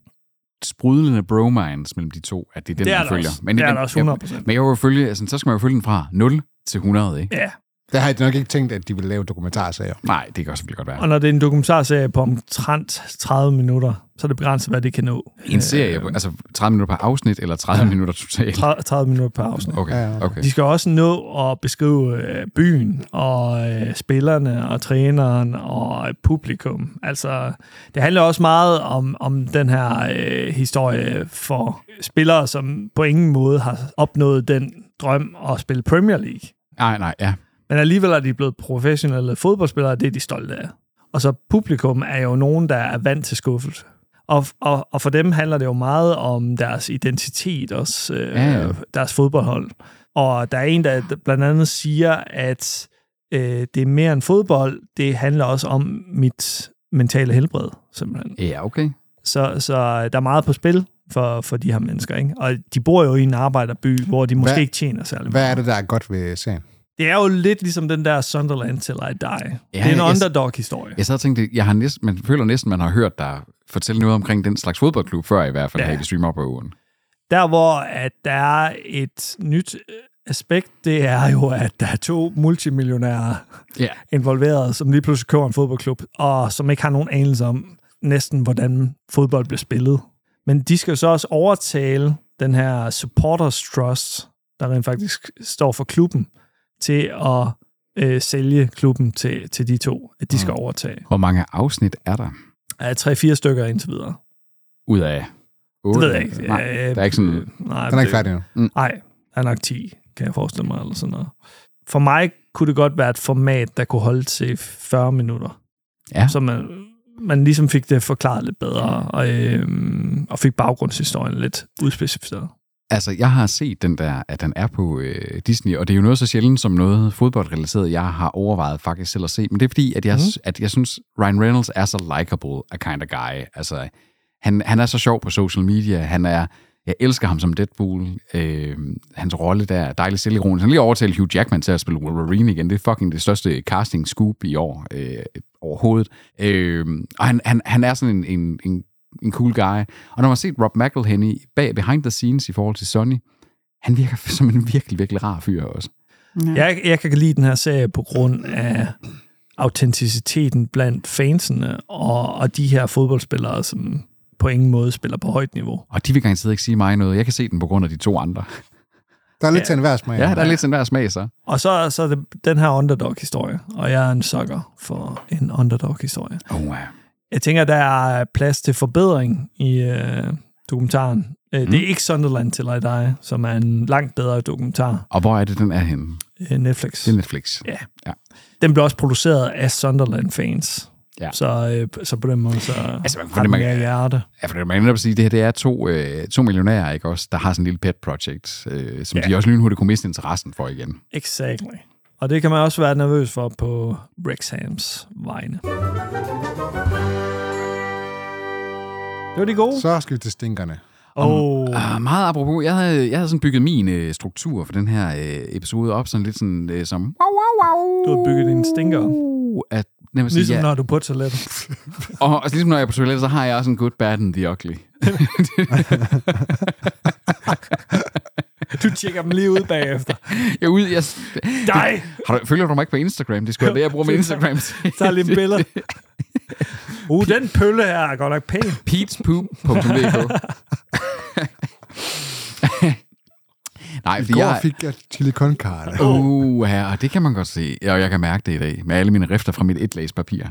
[SPEAKER 2] sprudlende bromance mellem de to, at det er den,
[SPEAKER 1] Det er
[SPEAKER 2] man
[SPEAKER 1] der
[SPEAKER 2] følger.
[SPEAKER 1] også. Det er
[SPEAKER 2] men,
[SPEAKER 1] der også 100%.
[SPEAKER 2] Jeg, men jeg vil jo følge, altså, så skal man jo følge den fra 0 til 100, ikke?
[SPEAKER 1] Ja,
[SPEAKER 4] Der har jeg nok ikke tænkt, at de ville lave dokumentarsager.
[SPEAKER 2] Nej, det kan også selvfølgelig godt være.
[SPEAKER 1] og når det er en dokumentarserie på omtrent 30 minutter, så er det begrænset, hvad det kan nå.
[SPEAKER 2] En serie, på- altså 30 minutter per afsnit, eller 30 ja. minutter totalt?
[SPEAKER 1] 30, 30 minutter per afsnit.
[SPEAKER 4] Ja,
[SPEAKER 2] Okay,
[SPEAKER 4] okay.
[SPEAKER 2] okay.
[SPEAKER 1] De skal også nå at beskrive øh, byen og øh, spillerne og træneren og øh, publikum. Altså, det handler også meget om, om den her øh, historie for spillere, som på ingen måde har opnået den drøm at spille Premier League.
[SPEAKER 2] Nej, nej, ja.
[SPEAKER 1] Men alligevel er de blevet professionelle fodboldspillere, og det er de stolte af. Og så publikum er jo nogen, der er vant til skuffelse. Og, og, og for dem handler det jo meget om deres identitet, også øh,
[SPEAKER 2] Ja, ja.
[SPEAKER 1] deres fodboldhold. Og der er en, der blandt andet siger, at øh, det er mere end fodbold, det handler også om mit mentale helbred, simpelthen.
[SPEAKER 2] Ja, okay.
[SPEAKER 1] Så, så der er meget på spil for, for de her mennesker. Ikke? Og de bor jo i en arbejderby, hvor de måske
[SPEAKER 4] Hvad-
[SPEAKER 1] ikke tjener særlig
[SPEAKER 4] Hvad er det, der er godt ved serien?
[SPEAKER 1] Det er jo lidt ligesom den der Sunderland Till I Die. Ja, det er en
[SPEAKER 2] jeg-
[SPEAKER 1] underdog-historie.
[SPEAKER 2] Jeg sad og tænkte, jeg har næsten, man føler næsten, man har hørt dig fortælle noget omkring den slags fodboldklub før i hvert fald,
[SPEAKER 1] Ja.
[SPEAKER 2] ja. her i Streamer på ugen.
[SPEAKER 1] Der, hvor at der er et nyt øh, aspekt, det er jo, at der er to multimillionærer
[SPEAKER 2] Ja.
[SPEAKER 1] involveret, som lige pludselig køber en fodboldklub, og som ikke har nogen anelse om næsten, hvordan fodbold bliver spillet. Men de skal jo så også overtale den her supporters trust, der rent faktisk står for klubben, til at øh, sælge klubben til, til de to, at de skal overtage.
[SPEAKER 2] Hvor mange afsnit er der?
[SPEAKER 1] Er tre-fire stykker indtil videre.
[SPEAKER 2] Ud af 8?
[SPEAKER 1] Det ved jeg ikke.
[SPEAKER 2] Nej,
[SPEAKER 1] Øh,
[SPEAKER 2] der er ikke sådan...
[SPEAKER 1] Nej,
[SPEAKER 4] Den er ikke færdig nu.
[SPEAKER 1] Nej, der er nok 10, kan jeg forestille mig, eller sådan noget. For mig kunne det godt være et format, der kunne holde til 40 minutter.
[SPEAKER 2] Ja.
[SPEAKER 1] Så man, man ligesom fik det forklaret lidt bedre, og, øhm, og fik baggrundshistorien lidt udspecificeret.
[SPEAKER 2] Altså, jeg har set den der, at den er på øh, Disney, og det er jo noget så sjældent som noget fodboldrelateret, jeg har overvejet faktisk selv at se. Men det er fordi, at jeg, mm. at jeg synes, Ryan Reynolds er så likable a kind of guy. Altså, han, han er så sjov på social media. Han er, jeg elsker ham som Deadpool. Øh, hans rolle der er dejlig selvironisk. Han har lige overtalt Hugh Jackman til at spille Wolverine igen. Det er fucking det største casting scoop i år øh, overhovedet. Øh, og han, han, han er sådan en, en, en, en cool guy. Og når man har set Rob McElhenney bag behind the scenes i forhold til Sonny, han virker som en virkelig, virkelig rar fyr også.
[SPEAKER 1] Jeg, jeg kan lide den her serie på grund af autenticiteten blandt fansene, og, og de her fodboldspillere, som på ingen måde spiller på højt niveau.
[SPEAKER 2] Og de vil garanteret ikke sige mig noget. Jeg kan se den på grund af de to andre.
[SPEAKER 4] Der er lidt til enhver smag.
[SPEAKER 2] Ja, der er lidt sådan hver smag så.
[SPEAKER 1] Og så, så er det den her underdog-historie, og jeg er en sucker for en underdog-historie.
[SPEAKER 2] Oh, ja.
[SPEAKER 1] Jeg tænker, der er plads til forbedring i øh, dokumentaren. Øh,
[SPEAKER 2] Mm.
[SPEAKER 1] Det er ikke Sunderland til I Die, som er en langt bedre dokumentar.
[SPEAKER 2] Og hvor er det, den er henne?
[SPEAKER 1] Øh, Netflix.
[SPEAKER 2] Det er Netflix.
[SPEAKER 1] Ja.
[SPEAKER 2] ja.
[SPEAKER 1] Den blev også produceret af Sunderland-fans.
[SPEAKER 2] Ja.
[SPEAKER 1] Så, øh, så på den måde, så altså,
[SPEAKER 2] man kan
[SPEAKER 1] har den
[SPEAKER 2] fornemme,
[SPEAKER 1] mere
[SPEAKER 2] at-
[SPEAKER 1] hjerte.
[SPEAKER 2] Ja, for man kan netop sige, at det her det er to, øh, to millionærer, ikke også, der har sådan en lille pet project, øh, som
[SPEAKER 1] Ja.
[SPEAKER 2] ja. de også lynhurtigt kunne miste interessen for igen.
[SPEAKER 1] Exactly. Og det kan man også være nervøs for på Brexhams vegne. Det var de gode.
[SPEAKER 4] Så skal vi til stinkerne.
[SPEAKER 1] Og
[SPEAKER 2] Uh, meget apropos, jeg havde, jeg havde sådan bygget min øh, struktur for den her øh, episode op, sådan lidt sådan øh, som... Wow, wow, wow.
[SPEAKER 1] Du har bygget dine stinker op.
[SPEAKER 2] At, nemlig,
[SPEAKER 1] ligesom
[SPEAKER 2] ja,
[SPEAKER 1] når du er på toilettet.
[SPEAKER 2] Og, og ligesom når jeg er på toilettet, så har jeg også en good, bad and the ugly.
[SPEAKER 1] Du tjekker dem lige ud bagefter.
[SPEAKER 2] Jeg er ude, jeg...
[SPEAKER 1] Dig!
[SPEAKER 2] Har du, følger du mig ikke på Instagram? Det skulle være det, jeg bruger min Instagram til.
[SPEAKER 1] tager lige en billede. Uh, den pølle her er godt nok pæn.
[SPEAKER 2] Pete'spoop.dk Nej,
[SPEAKER 4] I
[SPEAKER 2] fordi
[SPEAKER 4] går
[SPEAKER 2] jeg...
[SPEAKER 4] fik jeg chili con carne.
[SPEAKER 2] Uh, ja, og det kan man godt se. Og jeg kan mærke det i dag, med alle mine rifter fra mit etlags papir.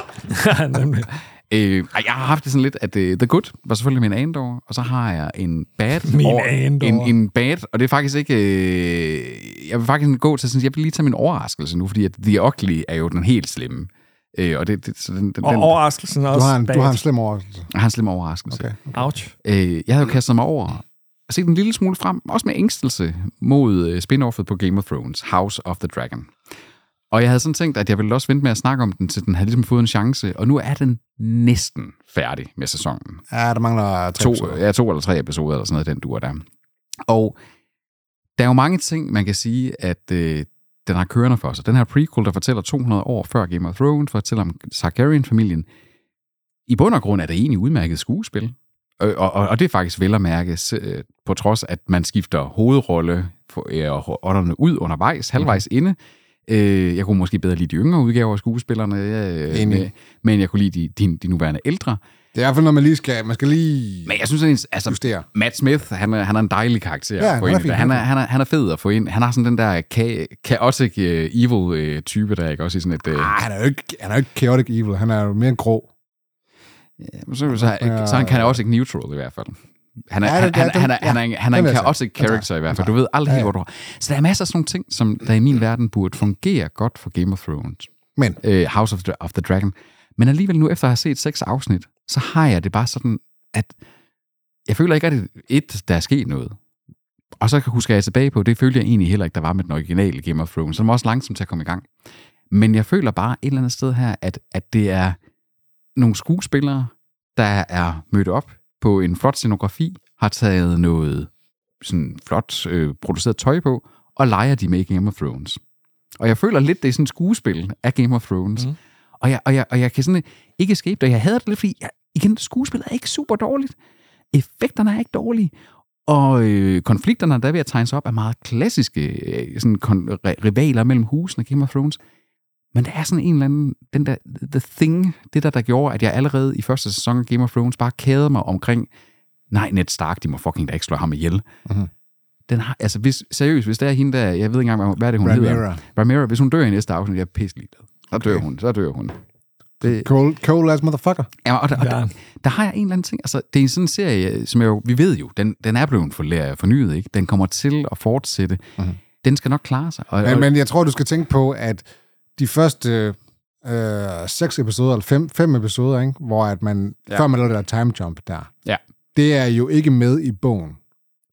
[SPEAKER 1] Ja, nemlig.
[SPEAKER 2] Øh, ej, jeg har haft det sådan lidt, at uh, The Good var selvfølgelig min andor, og så har jeg en bad.
[SPEAKER 1] Min
[SPEAKER 2] over-
[SPEAKER 1] andor.
[SPEAKER 2] En, en bad, og det er faktisk ikke... Øh, jeg vil faktisk gå til sådan, jeg vil lige tage min overraskelse nu, fordi at The Ugly er jo den helt slemme. Øh, og det, det, så den, den,
[SPEAKER 1] Og
[SPEAKER 2] den
[SPEAKER 1] overraskelsen er
[SPEAKER 4] Du
[SPEAKER 1] også
[SPEAKER 4] har en,
[SPEAKER 1] bag.
[SPEAKER 4] du har en slem overraskelse.
[SPEAKER 2] har en slem overraskelse.
[SPEAKER 4] Okay.
[SPEAKER 1] Ouch.
[SPEAKER 2] Øh, jeg havde jo kastet mig over og set en lille smule frem, også med ængstelse, mod øh, spin-offet på Game of Thrones, House of the Dragon. Og jeg havde sådan tænkt, at jeg ville også vente med at snakke om den, til den havde ligesom fået en chance, og nu er den næsten færdig med sæsonen.
[SPEAKER 4] Ja, der mangler tre
[SPEAKER 2] To,
[SPEAKER 4] episoder.
[SPEAKER 2] ja, to eller tre episoder, eller sådan noget, den duer der. Og der er jo mange ting, man kan sige, at øh, den har kørende for sig. Den her prequel, der fortæller 200 år før Game of Thrones, fortæller om Targaryen-familien. I bund og grund er det egentlig udmærket skuespil. Øh, Og, og, og det er faktisk vel at mærke, se- øh, på trods at man skifter hovedrolle for- øh, og ånderne ud undervejs, halvvejs
[SPEAKER 4] Mhm.
[SPEAKER 2] inde. Øh, Jeg kunne måske bedre lide de yngre udgaver af skuespillerne, øh,
[SPEAKER 4] Enig.
[SPEAKER 2] men- men jeg kunne lide de, de, de nuværende ældre.
[SPEAKER 4] Det er i hvert fald, når man lige skal... Man skal lige...
[SPEAKER 2] Men jeg synes, at ens- altså,
[SPEAKER 4] Justere.
[SPEAKER 2] Matt Smith, han er, han er en dejlig karakter.
[SPEAKER 4] Ja,
[SPEAKER 2] at få
[SPEAKER 4] han
[SPEAKER 2] ind
[SPEAKER 4] er
[SPEAKER 2] i
[SPEAKER 4] fin,
[SPEAKER 2] det. han, er,
[SPEAKER 4] han er
[SPEAKER 2] han, er, han er fed at få ind. Han har sådan den der ka- chaotic uh, evil uh, type, der ikke også i sådan et... Uh,
[SPEAKER 4] Ej, han er jo ikke, han er jo ikke chaotic evil. Han er jo mere en grå.
[SPEAKER 2] så, så, så, så han kan også ikke neutral i hvert fald. Han er,
[SPEAKER 4] Ja, det-
[SPEAKER 2] han,
[SPEAKER 4] det er
[SPEAKER 2] han,
[SPEAKER 4] den-
[SPEAKER 2] han, er, han, er, en- han er en
[SPEAKER 4] den er
[SPEAKER 2] chaotic
[SPEAKER 4] sådan.
[SPEAKER 2] character i hvert fald. Du ved aldrig helt, hvor du har. Så der er masser af sådan nogle ting, som der i min verden burde fungere godt for Game of Thrones.
[SPEAKER 4] Men
[SPEAKER 2] øh, House of the, of the Dragon. Men alligevel nu, efter at have set seks afsnit, så har jeg det bare sådan, at jeg føler ikke, at det et, der er sket noget. Og så husker jeg tilbage på, det følte jeg egentlig heller ikke, der var med den originale Game of Thrones, som var også langsomt til at komme i gang. Men jeg føler bare et eller andet sted her, at, at det er nogle skuespillere, der er mødt op på en flot scenografi, har taget noget sådan flot øh, produceret tøj på, og leger de med i Game of Thrones. Og jeg føler lidt, det er sådan et skuespil af Game of Thrones. Mm. Og, jeg, og, jeg, og jeg kan sådan ikke escape det. Jeg hader det lidt, fordi jeg, igen, skuespillet er ikke super dårligt. Effekterne er ikke dårlige. Og øh, konflikterne, der er ved at tegne sig op, er meget klassiske øh, sådan kon- re- rivaler mellem husene af Game of Thrones. Men der er sådan en eller anden, den der, the thing, det der, der gjorde, at jeg allerede i første sæson af Game of Thrones bare kædede mig omkring, nej, Ned Stark, de må fucking da ikke slå ham ihjel. Mm-hmm. Den har, altså hvis, seriøst, hvis det er hende der, jeg ved ikke engang, hvad er det, hun hedder.
[SPEAKER 4] Rhaenyra.
[SPEAKER 2] Rhaenyra. hvis hun dør i næste afsnit, jeg er pisselig ligeglad. Så dør hun, så dør hun. Det,
[SPEAKER 4] Cold, cold ass motherfucker.
[SPEAKER 2] Ja, og, der, og
[SPEAKER 1] Ja.
[SPEAKER 2] der, der har jeg en eller anden ting. Altså, det er sådan en serie, som jeg jo, vi ved jo, den, den er blevet forlæ- fornyet, ikke? Den kommer til at fortsætte. Mm-hmm. Den skal nok klare sig. Og,
[SPEAKER 4] Mhm. Men,
[SPEAKER 2] og,
[SPEAKER 4] men jeg tror, du skal tænke på, at de første øh, seks episoder, eller fem, fem episoder, ikke? hvor at man,
[SPEAKER 2] Ja.
[SPEAKER 4] ja. før man lavede det der time jump der,
[SPEAKER 2] ja.
[SPEAKER 4] det er jo ikke med i bogen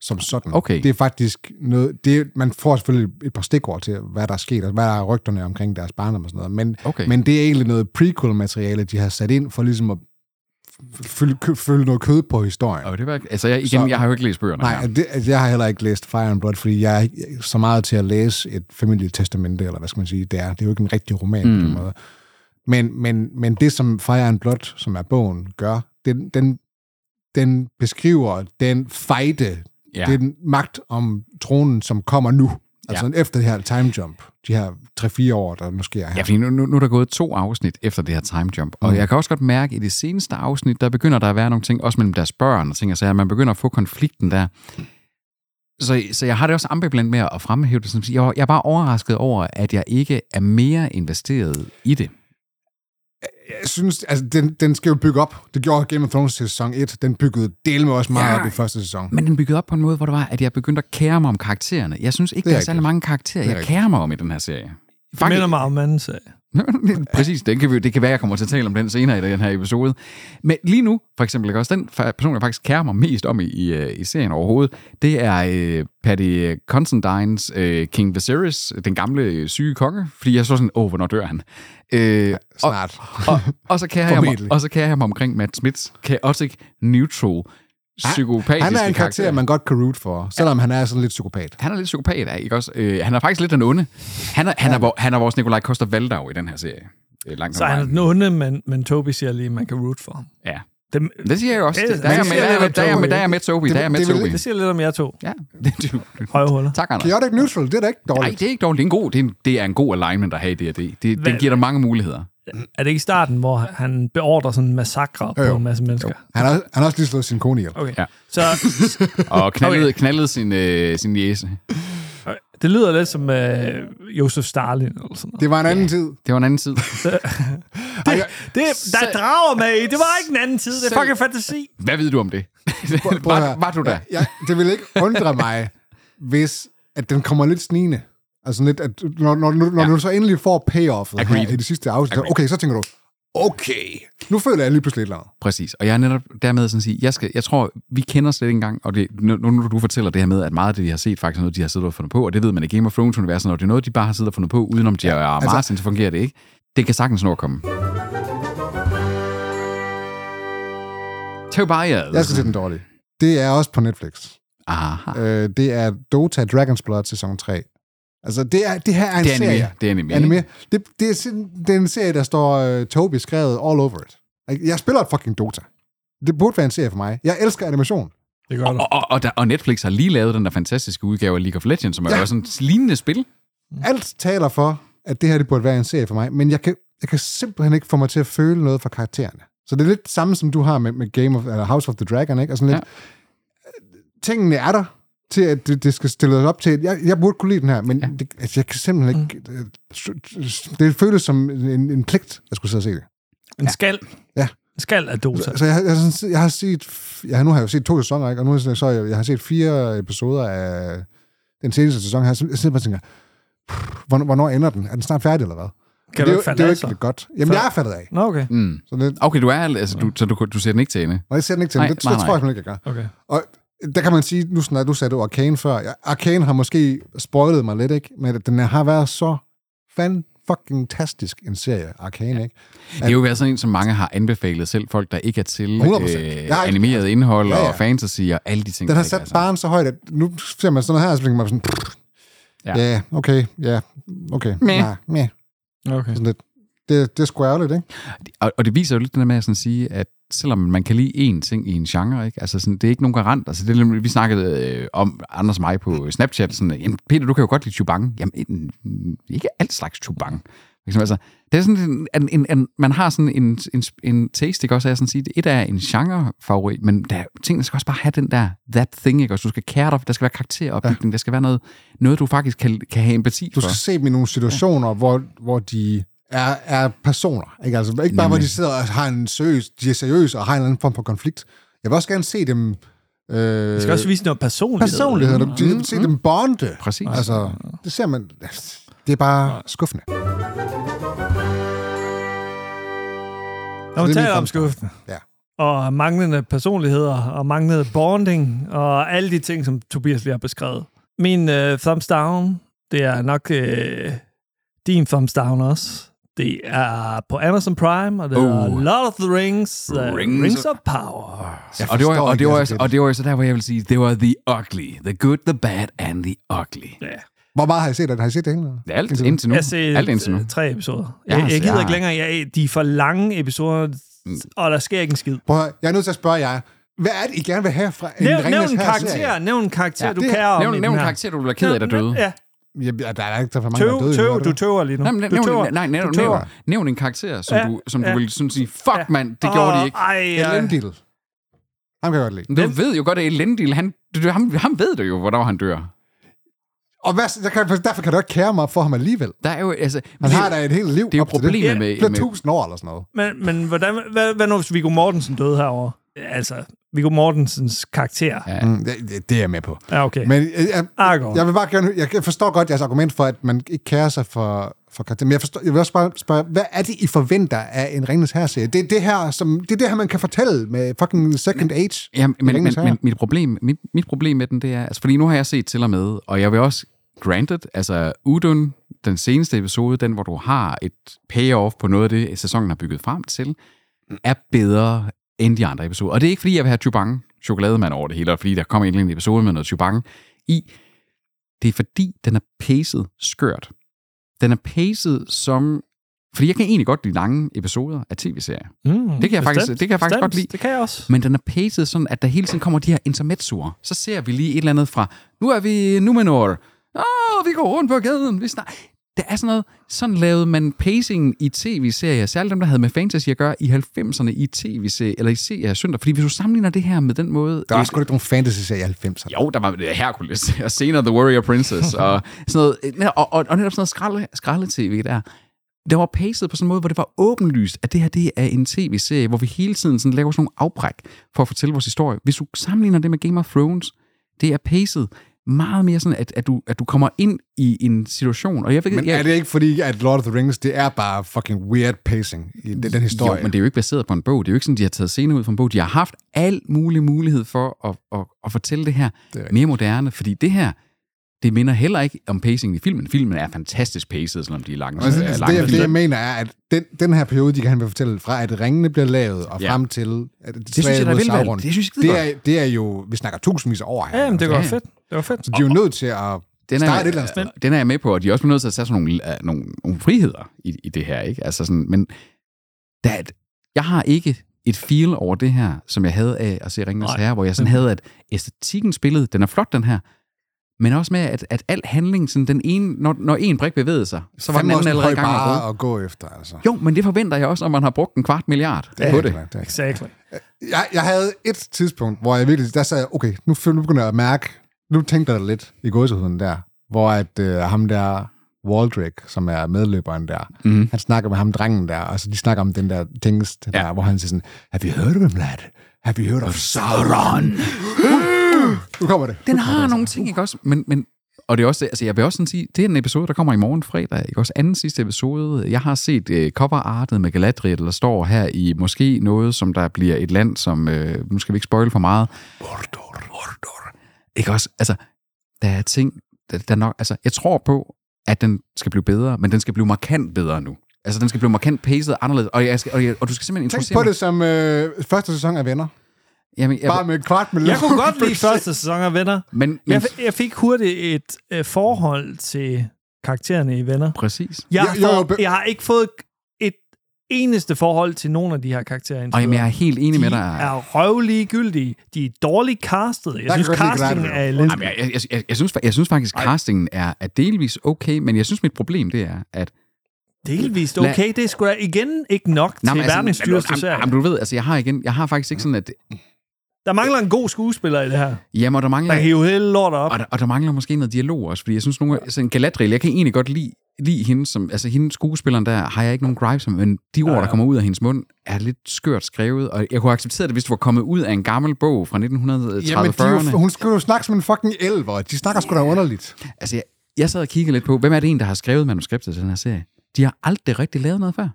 [SPEAKER 4] som sådan.
[SPEAKER 2] Okay.
[SPEAKER 4] Det er faktisk noget... Det, er- man får selvfølgelig et par stikord til, hvad der er sket, og hvad der er rygterne omkring deres barndom og sådan noget. Men,
[SPEAKER 2] Okay.
[SPEAKER 4] men det er egentlig noget prequel-materiale, de har sat ind for ligesom at f- fylde, kø- fylde noget kød på historien.
[SPEAKER 2] og det var, altså, jeg, igen,
[SPEAKER 4] Så-
[SPEAKER 2] jeg har jo ikke læst bøgerne
[SPEAKER 4] Nej,
[SPEAKER 2] her.
[SPEAKER 4] det, altså, jeg har heller ikke læst Fire and Blood, fordi jeg er ikke så meget til at læse et familietestamente, eller hvad skal man sige, det er. Det er jo ikke en rigtig roman mm. på den måde. Men, men, men det, som Fire and Blood, som er bogen, gør, den, den, den beskriver den fejde,
[SPEAKER 2] Ja.
[SPEAKER 4] ja. den magt om tronen, som kommer nu. Altså ja. efter det her time jump, de her 3-4 år, der nu sker her.
[SPEAKER 2] Ja, fordi nu, nu, nu er der gået to afsnit efter det her time jump,
[SPEAKER 4] Mm.
[SPEAKER 2] og jeg kan også godt mærke, at i det seneste afsnit, der begynder der at være nogle ting, også mellem deres børn og ting og sager, man begynder at få konflikten der. Så, så jeg har det også ambivalent med at fremhæve det, som jeg, jeg er bare overrasket over, at jeg ikke er mere investeret i det.
[SPEAKER 4] jeg synes, altså, den, den skal jo bygge op. Det gjorde Game of Thrones til sæson 1. Den byggede del med også meget
[SPEAKER 2] Ja.
[SPEAKER 4] ja. op i første sæson.
[SPEAKER 2] Men den byggede op på en måde, hvor det var, at jeg begyndte at kære mig om karaktererne. Jeg synes ikke,
[SPEAKER 4] Det er
[SPEAKER 2] der er særlig
[SPEAKER 4] rigtigt.
[SPEAKER 2] mange karakterer,
[SPEAKER 4] Det er
[SPEAKER 2] jeg kærer mig om i den her serie.
[SPEAKER 1] Det minder mig om anden sag.
[SPEAKER 2] Præcis, den kan vi, det kan være, jeg kommer til at tale om den senere i den her episode. Men lige nu, for eksempel, ikke også den fa- person, jeg faktisk kærer mig mest om i, i, øh, i serien overhovedet, det er øh, Paddy Constantines øh, King Viserys, den gamle øh, syge konge, fordi jeg så sådan, åh, hvornår dør han? Øh, og,
[SPEAKER 4] Snart.
[SPEAKER 2] og, og, så kærer jeg mig,
[SPEAKER 4] Formentlig.
[SPEAKER 2] og så kærer jeg mig omkring Matt Smiths chaotic neutral psykopatiske
[SPEAKER 4] Han er en karakter,
[SPEAKER 2] karakter.
[SPEAKER 4] man godt kan root for, selvom han er sådan lidt psykopat.
[SPEAKER 2] Han er lidt psykopat, ikke også? Øh, han er faktisk lidt den onde. Han er, han er, vor- han er vores Nikolaj Koster Valdau i den her serie. Øh, langt
[SPEAKER 1] Så
[SPEAKER 2] hen ad
[SPEAKER 1] han er
[SPEAKER 2] vejen.
[SPEAKER 1] den onde, men, men Toby siger lige, at man kan root for ham.
[SPEAKER 2] Ja.
[SPEAKER 1] Det,
[SPEAKER 2] Det siger jeg også.
[SPEAKER 1] Det-
[SPEAKER 2] Det, der, er
[SPEAKER 1] det
[SPEAKER 2] jeg med,
[SPEAKER 1] siger
[SPEAKER 2] der, er jeg
[SPEAKER 1] lidt
[SPEAKER 2] med,
[SPEAKER 1] om
[SPEAKER 2] der, er jeg med,
[SPEAKER 1] Toby,
[SPEAKER 2] der er jeg med Toby. Der er jeg med
[SPEAKER 4] det vil-
[SPEAKER 2] Toby.
[SPEAKER 1] det siger lidt om jer to.
[SPEAKER 2] Ja, det er
[SPEAKER 1] Højhuller.
[SPEAKER 2] Tak, Anders.
[SPEAKER 4] Chaotic neutral, det er da ikke
[SPEAKER 2] Nej,
[SPEAKER 4] dårligt.
[SPEAKER 2] det er ikke dårligt. Det er en god, det er en, det er en god alignment at have i D&D. Det, det, den
[SPEAKER 1] Hvad-
[SPEAKER 2] giver dig mange muligheder.
[SPEAKER 1] Er det ikke i starten, hvor han beordrer sådan en massakre
[SPEAKER 4] Jo,
[SPEAKER 1] på
[SPEAKER 4] jo.
[SPEAKER 1] en masse mennesker?
[SPEAKER 4] Han har, han har også lige slået sin kone ihjel.
[SPEAKER 1] Okay.
[SPEAKER 2] Ja.
[SPEAKER 1] Så
[SPEAKER 2] Og knaldede, okay. knaldede sin, øh, sin jæse.
[SPEAKER 1] det lyder lidt som øh, Josef Stalin eller sådan noget.
[SPEAKER 4] Det var en anden tid.
[SPEAKER 2] Det var en anden tid.
[SPEAKER 1] Det, der er
[SPEAKER 2] Selv-
[SPEAKER 1] drager med i. Det var ikke en anden tid. Det er
[SPEAKER 2] Selv-
[SPEAKER 1] fucking fantasi.
[SPEAKER 2] Hvad ved du om det?
[SPEAKER 4] Prøv at
[SPEAKER 2] var,
[SPEAKER 4] høre.
[SPEAKER 2] var du der?
[SPEAKER 4] Ja, ja, det vil ikke undre mig, hvis at den kommer lidt snigende. Altså lidt, at når, når, når, når
[SPEAKER 2] Ja.
[SPEAKER 4] du så endelig får payoffet her
[SPEAKER 2] Agreed.
[SPEAKER 4] i det sidste afsnit, så, okay, så tænker du, okay, nu føler jeg lige pludselig et eller andet.
[SPEAKER 2] Præcis. Og jeg er netop dermed sådan at sige, jeg, skal, jeg tror, vi kender slet ikke engang, og det, nu, nu, når du fortæller det her med, at meget af det, vi har set, faktisk er noget, de har siddet og fundet på, og det ved man i Game of Thrones-universet, når det er noget, de bare har siddet og fundet på, udenom de ja, og altså, Martin, så fungerer det ikke. Det kan sagtens nå at komme. Tobias.
[SPEAKER 4] Jeg skal til den dårlige. Det er også på Netflix.
[SPEAKER 2] Aha.
[SPEAKER 4] Øh, det er Dota Dragon's Blood sæson 3. Altså, det, er, det her er en
[SPEAKER 2] Det er anime.
[SPEAKER 4] serie.
[SPEAKER 2] Det er anime.
[SPEAKER 4] anime. Det, det, er, sådan- det er en serie, der står uh, Toby skrevet all over it. Ikke? Jeg spiller et fucking Dota. Det burde være en serie for mig. Jeg elsker animation.
[SPEAKER 1] Det gør
[SPEAKER 2] Og, og, og, der, og Netflix har lige lavet den der fantastiske udgave af League of Legends, som er ja.
[SPEAKER 4] Ja.
[SPEAKER 2] jo sådan et lignende spil.
[SPEAKER 4] Alt taler for, at det her det burde være en serie for mig, men jeg kan, jeg kan simpelthen ikke få mig til at føle noget for karaktererne. Så det er lidt det samme, som du har med, med Game of, eller House of the Dragon, ikke? Og sådan lidt, øh, Tingene er der til, at det, det skal stilles op til. et- Jeg, jeg burde kunne lide den her, men ja. det, altså, jeg kan simpelthen ikke... Det, det føles som en, en pligt, at skulle sidde og se det.
[SPEAKER 1] En skal.
[SPEAKER 4] Ja. Altså,
[SPEAKER 1] En skal af Dota.
[SPEAKER 4] Så jeg, har- jeg, har sådan set- jeg har set, jeg, har- nu har jeg jo set to sæsoner, ikke? og nu har jeg, så jeg, jeg har set fire episoder af den seneste sæson her, så jeg sidder bare og tænker, "Pff, hvornår, hvornår ender den? Er den snart færdig, eller hvad? Men
[SPEAKER 1] Kan
[SPEAKER 4] det,
[SPEAKER 1] du
[SPEAKER 4] er
[SPEAKER 1] ikke
[SPEAKER 4] jo-
[SPEAKER 1] falde
[SPEAKER 4] det er jo
[SPEAKER 1] af,
[SPEAKER 4] ikke
[SPEAKER 1] så?
[SPEAKER 4] Mm. lidt godt. Jamen, jeg er faldet af.
[SPEAKER 1] Nå, okay.
[SPEAKER 4] Så det,
[SPEAKER 2] Okay, du er, altså, du, så du, du ser den ikke til ende.
[SPEAKER 4] nej, jeg ser den ikke til.
[SPEAKER 2] Nej,
[SPEAKER 4] Nej, det,
[SPEAKER 2] nej,
[SPEAKER 4] nej, det tror
[SPEAKER 2] nej.
[SPEAKER 4] jeg simpelthen ikke, jeg gør.
[SPEAKER 1] okay.
[SPEAKER 4] Og der kan man sige, nu sådan, at du sagde du Arcane før. Ja, Arcane har måske spoilet mig lidt, ikke? men den har været så fan fucking tastisk en serie, Arcane, ikke?
[SPEAKER 2] Det er jo været sådan en, som mange har anbefalet selv, folk der ikke er til
[SPEAKER 4] 100%.
[SPEAKER 2] øh,
[SPEAKER 4] Jeg har ikke-
[SPEAKER 2] animeret indhold
[SPEAKER 4] Ja,
[SPEAKER 2] ja,
[SPEAKER 4] ja.
[SPEAKER 2] ja. og fantasy og alle de ting.
[SPEAKER 4] Den
[SPEAKER 2] der ikke er
[SPEAKER 4] har
[SPEAKER 2] altså-
[SPEAKER 4] sat
[SPEAKER 1] altså.
[SPEAKER 2] sådan.
[SPEAKER 4] barn så højt, at nu ser man sådan noget her, og så bliver man sådan, pff,
[SPEAKER 2] Ja.
[SPEAKER 4] ja, yeah, okay, ja, yeah, okay,
[SPEAKER 2] Meh.
[SPEAKER 4] nej, meh.
[SPEAKER 1] Okay.
[SPEAKER 4] Sådan lidt. Det, det er sgu ærgerligt, ikke?
[SPEAKER 2] Og, og det viser jo lidt den der med at sådan sige, at selvom man kan lide én ting i en genre, ikke? Altså sådan, det er ikke nogen garant. Altså, det er, lidt- vi snakkede øh, om Anders og mig på Snapchat, sådan, jamen, Peter, du kan jo godt lide Chubang. Jamen, en, ikke alt slags Chubang. For eksempel, Altså, det er sådan, en- en, en, en, man har sådan en, en, en taste, ikke også? Er sådan at sige, et er en genre-favorit, men der, er- tingene skal også bare have den der that thing, ikke også? Du skal kære dig, der skal være karakteropbygning, ja. der skal være noget, noget du faktisk kan, kan have empati
[SPEAKER 4] Du
[SPEAKER 2] for.
[SPEAKER 4] skal se dem i nogle situationer, ja. hvor, hvor de er, er personer, ikke? Altså, ikke bare, hvor de sidder og har en seriøs, de er seriøse og har en eller anden form for konflikt. Jeg vil også gerne se dem... Øh,
[SPEAKER 1] Vi skal også vise noget personlighed.
[SPEAKER 4] personligheder. Du, du
[SPEAKER 1] Mm.
[SPEAKER 4] skal se dem bonde.
[SPEAKER 2] Præcis.
[SPEAKER 4] Altså, det ser man... Det er bare skuffende.
[SPEAKER 1] Når man
[SPEAKER 4] det er
[SPEAKER 1] taler
[SPEAKER 4] min
[SPEAKER 1] om
[SPEAKER 4] thumbs down.
[SPEAKER 1] skuffen.
[SPEAKER 4] Ja.
[SPEAKER 1] Og manglende personligheder, og manglende bonding, og alle de ting, som Tobias lige har beskrevet. Min øh, thumbs down, det er nok øh, din thumbs down også. Det er på Amazon Prime, og det
[SPEAKER 2] Oh.
[SPEAKER 4] Uh.
[SPEAKER 1] er Lord of the Rings, uh,
[SPEAKER 2] Rings
[SPEAKER 1] Rings,
[SPEAKER 2] of-
[SPEAKER 1] Rings of Power.
[SPEAKER 2] Ja, og, det var,
[SPEAKER 4] forstår
[SPEAKER 2] og, det
[SPEAKER 4] ikke,
[SPEAKER 2] var,
[SPEAKER 4] jeg
[SPEAKER 2] også-
[SPEAKER 4] skal-
[SPEAKER 2] og det var jo så der, hvor jeg vil sige, det var the ugly. The good, the bad and the ugly.
[SPEAKER 1] Ja.
[SPEAKER 4] Hvor meget har I set af det? Har I set det hele?
[SPEAKER 2] Ja, Alt indtil, indtil nu.
[SPEAKER 1] Jeg har set
[SPEAKER 2] Alt indtil nu.
[SPEAKER 1] øh, tre episoder. Jeg,
[SPEAKER 2] Jeg har-
[SPEAKER 1] jeg gider
[SPEAKER 2] jeg
[SPEAKER 1] ikke
[SPEAKER 2] har-
[SPEAKER 1] længere. Jeg, de er for lange episoder,
[SPEAKER 4] Mm.
[SPEAKER 1] og der sker ikke en skid.
[SPEAKER 4] Prøv at, høre, jeg er nødt til at spørge jer. Hvad er det, I gerne vil have fra en
[SPEAKER 1] Nævn, nævn
[SPEAKER 4] Ringenes
[SPEAKER 1] en
[SPEAKER 4] Herre-serie?
[SPEAKER 1] karakter, nævn en karakter,
[SPEAKER 2] Ja,
[SPEAKER 1] du
[SPEAKER 4] det-
[SPEAKER 1] kan om i
[SPEAKER 2] Nævn,
[SPEAKER 1] den
[SPEAKER 2] nævn en
[SPEAKER 1] her.
[SPEAKER 2] karakter, du bliver ked af, der døde.
[SPEAKER 1] Ja,
[SPEAKER 4] Ja, der er ikke så mange, der er
[SPEAKER 1] tøv,
[SPEAKER 4] døde.
[SPEAKER 1] tøv, du tøver lige nu.
[SPEAKER 2] Nej, men nævn,
[SPEAKER 1] du tøver.
[SPEAKER 2] nej, nævn,
[SPEAKER 1] du tøver.
[SPEAKER 2] nævn, nævn en karakter, som
[SPEAKER 1] Ja,
[SPEAKER 2] du, som du
[SPEAKER 1] ja.
[SPEAKER 2] ville sådan sige, fuck
[SPEAKER 1] Ja.
[SPEAKER 2] mand, det gjorde
[SPEAKER 1] Åh,
[SPEAKER 2] de ikke.
[SPEAKER 1] Ej, ja.
[SPEAKER 4] Elendil. Ham kan jeg godt lide.
[SPEAKER 2] Men Du ved jo godt, at Elendil, han, du- ham, ham ved du jo, hvornår han dør.
[SPEAKER 4] Og hvad, der kan, derfor kan du ikke kære mig for ham alligevel.
[SPEAKER 2] Der er jo, altså...
[SPEAKER 4] Han
[SPEAKER 2] det-
[SPEAKER 4] har da et helt liv
[SPEAKER 2] det er jo
[SPEAKER 4] op til
[SPEAKER 2] problemet
[SPEAKER 4] det.
[SPEAKER 2] med-
[SPEAKER 4] Flere
[SPEAKER 2] med-
[SPEAKER 4] tusind år eller sådan noget.
[SPEAKER 1] Men, men hvordan, hvad, hvad nu, hvis Viggo Mortensen døde herovre? Altså, Viggo Mortensens karakter. Ja,
[SPEAKER 4] Mm, det, det- det er jeg med på.
[SPEAKER 1] ja okay. Men,
[SPEAKER 4] Men øh, jeg,
[SPEAKER 1] Argo.
[SPEAKER 4] jeg vil bare gerne, jeg forstår godt jeres argument for, at man ikke kærer sig for, for karakteren. Men jeg, forstår, jeg vil også bare spørge, hvad er det, I forventer af en Ringens Herre-serie? Det er det her, som, det er det her, man kan fortælle med fucking Second Age.
[SPEAKER 2] Ja, men, men,
[SPEAKER 4] Ringenes Herre.
[SPEAKER 2] men mit, problem, mit, mit problem med den, det er, altså, fordi nu har jeg set til og med, og jeg vil også, granted, altså Udun, den seneste episode, den hvor du har et payoff på noget af det, sæsonen har bygget frem til, er bedre end de andre episoder. Og det er ikke, fordi jeg vil have Chubang chokolademand over det hele, og fordi der kommer egentlig en episode med noget Chubang i. Det er, fordi den er paced skørt. Den er paced som... Fordi jeg kan egentlig godt lide lange episoder af tv-serier.
[SPEAKER 1] mm,
[SPEAKER 2] Det kan jeg faktisk- det kan jeg faktisk
[SPEAKER 1] bestemt,
[SPEAKER 2] godt lide.
[SPEAKER 1] Det kan jeg også.
[SPEAKER 2] Men den er paced sådan, at der hele tiden kommer de her intermezzoer. Så ser vi lige et eller andet fra, nu er vi Numenor. Åh, vi går rundt på gaden. Vi snak... Der er sådan noget, sådan lavede man pacingen i tv-serier, særligt dem, der havde med fantasy at gøre i 90'erne i tv-serier, eller i serier søndag. Fordi hvis du sammenligner det her med den måde...
[SPEAKER 4] Der er sgu da ikke nogen fantasy-serie i 90'erne.
[SPEAKER 2] Jo, der var øh, Hercules, og senere The Warrior Princess, og sådan noget, og, og, og netop sådan noget skralde, skralde-tv der. Det var paced på sådan en måde, hvor det var åbenlyst, at det her det er en tv-serie, hvor vi hele tiden sådan laver sådan nogle afbræk for at fortælle vores historie. Hvis du sammenligner det med Game of Thrones, det er paced meget mere sådan, at, at, du, at du kommer ind i en situation. Og jeg ved, ikke-
[SPEAKER 4] Men
[SPEAKER 2] jeg,
[SPEAKER 4] er det ikke fordi, at Lord of the Rings, det er bare fucking weird pacing i den, den historie?
[SPEAKER 2] Jo, men det er jo ikke baseret på en bog. Det er jo ikke sådan, de har taget scener ud fra en bog. De har haft al mulig mulighed for at, at, at fortælle det her det mere moderne, fordi det her, det minder heller ikke om pacingen i filmen. Filmen er fantastisk paced, selvom de er lange.
[SPEAKER 4] Altså,
[SPEAKER 2] er
[SPEAKER 4] altså,
[SPEAKER 2] lange
[SPEAKER 4] det, jeg- det, jeg
[SPEAKER 2] filmer.
[SPEAKER 4] mener er, at den, den her periode, de gerne vil fortælle fra, at ringene bliver lavet og
[SPEAKER 2] Ja.
[SPEAKER 4] ja. frem til at det
[SPEAKER 2] synes jeg, der er velvalgt. Det synes jeg
[SPEAKER 4] det,
[SPEAKER 2] skidegodt.
[SPEAKER 4] er, det er jo, vi snakker tusindvis af år her.
[SPEAKER 1] Ja, men det
[SPEAKER 4] Så
[SPEAKER 1] var
[SPEAKER 2] Ja.
[SPEAKER 1] fedt. Det var fedt.
[SPEAKER 4] de er jo nødt til at
[SPEAKER 2] den
[SPEAKER 4] starte
[SPEAKER 2] er, øh,
[SPEAKER 4] et eller andet sted.
[SPEAKER 2] Den er jeg med på, og de er også nødt til at tage sådan nogle, øh, nogle, nogle friheder i, i det her. Ikke? Altså sådan, men der, er et- jeg har ikke et feel over det her, som jeg havde af at se Ringens Herre, hvor jeg sådan havde, at æstetikken spillede, den er flot, den her, men også med, at, at al handling, sådan den ene, når, når en brik bevægede sig, så var den
[SPEAKER 4] Fandme
[SPEAKER 2] anden
[SPEAKER 4] også en
[SPEAKER 2] allerede
[SPEAKER 4] høj
[SPEAKER 2] i gang med at
[SPEAKER 4] bare
[SPEAKER 2] bruge.
[SPEAKER 4] at gå efter, altså.
[SPEAKER 2] Jo, men det forventer jeg også, når man har brugt en kvart milliard
[SPEAKER 4] Det er
[SPEAKER 2] på
[SPEAKER 4] helt
[SPEAKER 2] det.
[SPEAKER 4] klart, det. er-
[SPEAKER 1] Exactly.
[SPEAKER 4] Jeg, jeg havde et tidspunkt, hvor jeg virkelig, der sagde jeg, okay, nu, føl- nu begynder jeg at mærke, nu tænkte jeg lidt i gåsehuden der, hvor at øh, ham der Waldrick, som er medløberen der,
[SPEAKER 1] Mhm.
[SPEAKER 4] mm. han snakker med ham drengen der, og så de snakker om den der tingest der, hvor han siger sådan, have you heard of him, lad? Have you heard of Sauron? nu kommer det. altså.
[SPEAKER 2] Den har nogle ting, ikke også? Men, men, og det er også, det- altså jeg vil også sådan sige, det er en episode, der kommer i morgen fredag, ikke også? Anden sidste episode. Jeg har set øh, coverartet med Galadriel, der står her i måske noget, som der bliver et land, som, øh, nu skal vi ikke spoil for meget. Mordor. Mordor. Ikke også? Altså, der er ting, der, der nok, altså jeg tror på, at den skal blive bedre, men den skal blive markant bedre nu. Altså, den skal blive markant paced anderledes, og, jeg skal, og, jeg, og du skal simpelthen
[SPEAKER 4] Tænk
[SPEAKER 2] introducere
[SPEAKER 4] på
[SPEAKER 2] mig-
[SPEAKER 4] det som øh, første sæson af Venner.
[SPEAKER 2] Jamen, jeg,
[SPEAKER 4] Bare med et kvart million.
[SPEAKER 1] Jeg kunne godt lide første sæson af Venner.
[SPEAKER 2] men, men,
[SPEAKER 1] Jeg, f- jeg fik hurtigt et øh, forhold til karaktererne i Venner.
[SPEAKER 2] præcis.
[SPEAKER 1] Jeg,
[SPEAKER 4] Jo, jo,
[SPEAKER 1] har fået,
[SPEAKER 4] be-
[SPEAKER 1] jeg har ikke fået et eneste forhold til nogen af de her karakterer. indtil
[SPEAKER 2] Og jamen,
[SPEAKER 1] videre.
[SPEAKER 2] jeg er helt enig med
[SPEAKER 1] de
[SPEAKER 2] dig.
[SPEAKER 1] er røvligegyldige. De er dårligt castet. Jeg
[SPEAKER 4] kan
[SPEAKER 1] synes,
[SPEAKER 4] godt lide
[SPEAKER 1] castingen
[SPEAKER 4] Gladbach.
[SPEAKER 1] er elendig.
[SPEAKER 2] Jamen, jeg, jeg, jeg, jeg, jeg, synes, fa- jeg synes faktisk, at castingen er, er delvis okay, men jeg synes, mit problem det er, at...
[SPEAKER 1] Delvist
[SPEAKER 2] Lad-
[SPEAKER 1] okay. Det er sgu da igen ikke nok til
[SPEAKER 2] men
[SPEAKER 1] verdens
[SPEAKER 2] jamen,
[SPEAKER 1] dyreste
[SPEAKER 2] jamen,
[SPEAKER 1] serie.
[SPEAKER 2] jamen, du ved, altså, jeg har, igen, jeg har faktisk ikke sådan, at...
[SPEAKER 1] Der mangler en god skuespiller i det her.
[SPEAKER 2] Jamen, og der
[SPEAKER 1] Der
[SPEAKER 2] mangler...
[SPEAKER 1] hiver hele lortet op.
[SPEAKER 2] Og der, og der mangler måske noget dialog også, fordi jeg synes, nogle, sådan Galadriel, jeg kan egentlig godt lide, lide hende, som, altså hende skuespilleren der, har jeg ikke nogen gripe som, men de ord, der kommer ud af hendes mund, er lidt skørt skrevet, og jeg kunne acceptere det, hvis det var kommet ud af en gammel bog fra 1930-40'erne.
[SPEAKER 4] Jamen, de, er jo- hun skal jo snakke som en fucking elver. De snakker sgu da underligt.
[SPEAKER 2] Altså, jeg, jeg sad og kiggede lidt på, hvem er det en, der har skrevet manuskriptet til den her serie? De har aldrig rigtig lavet noget før.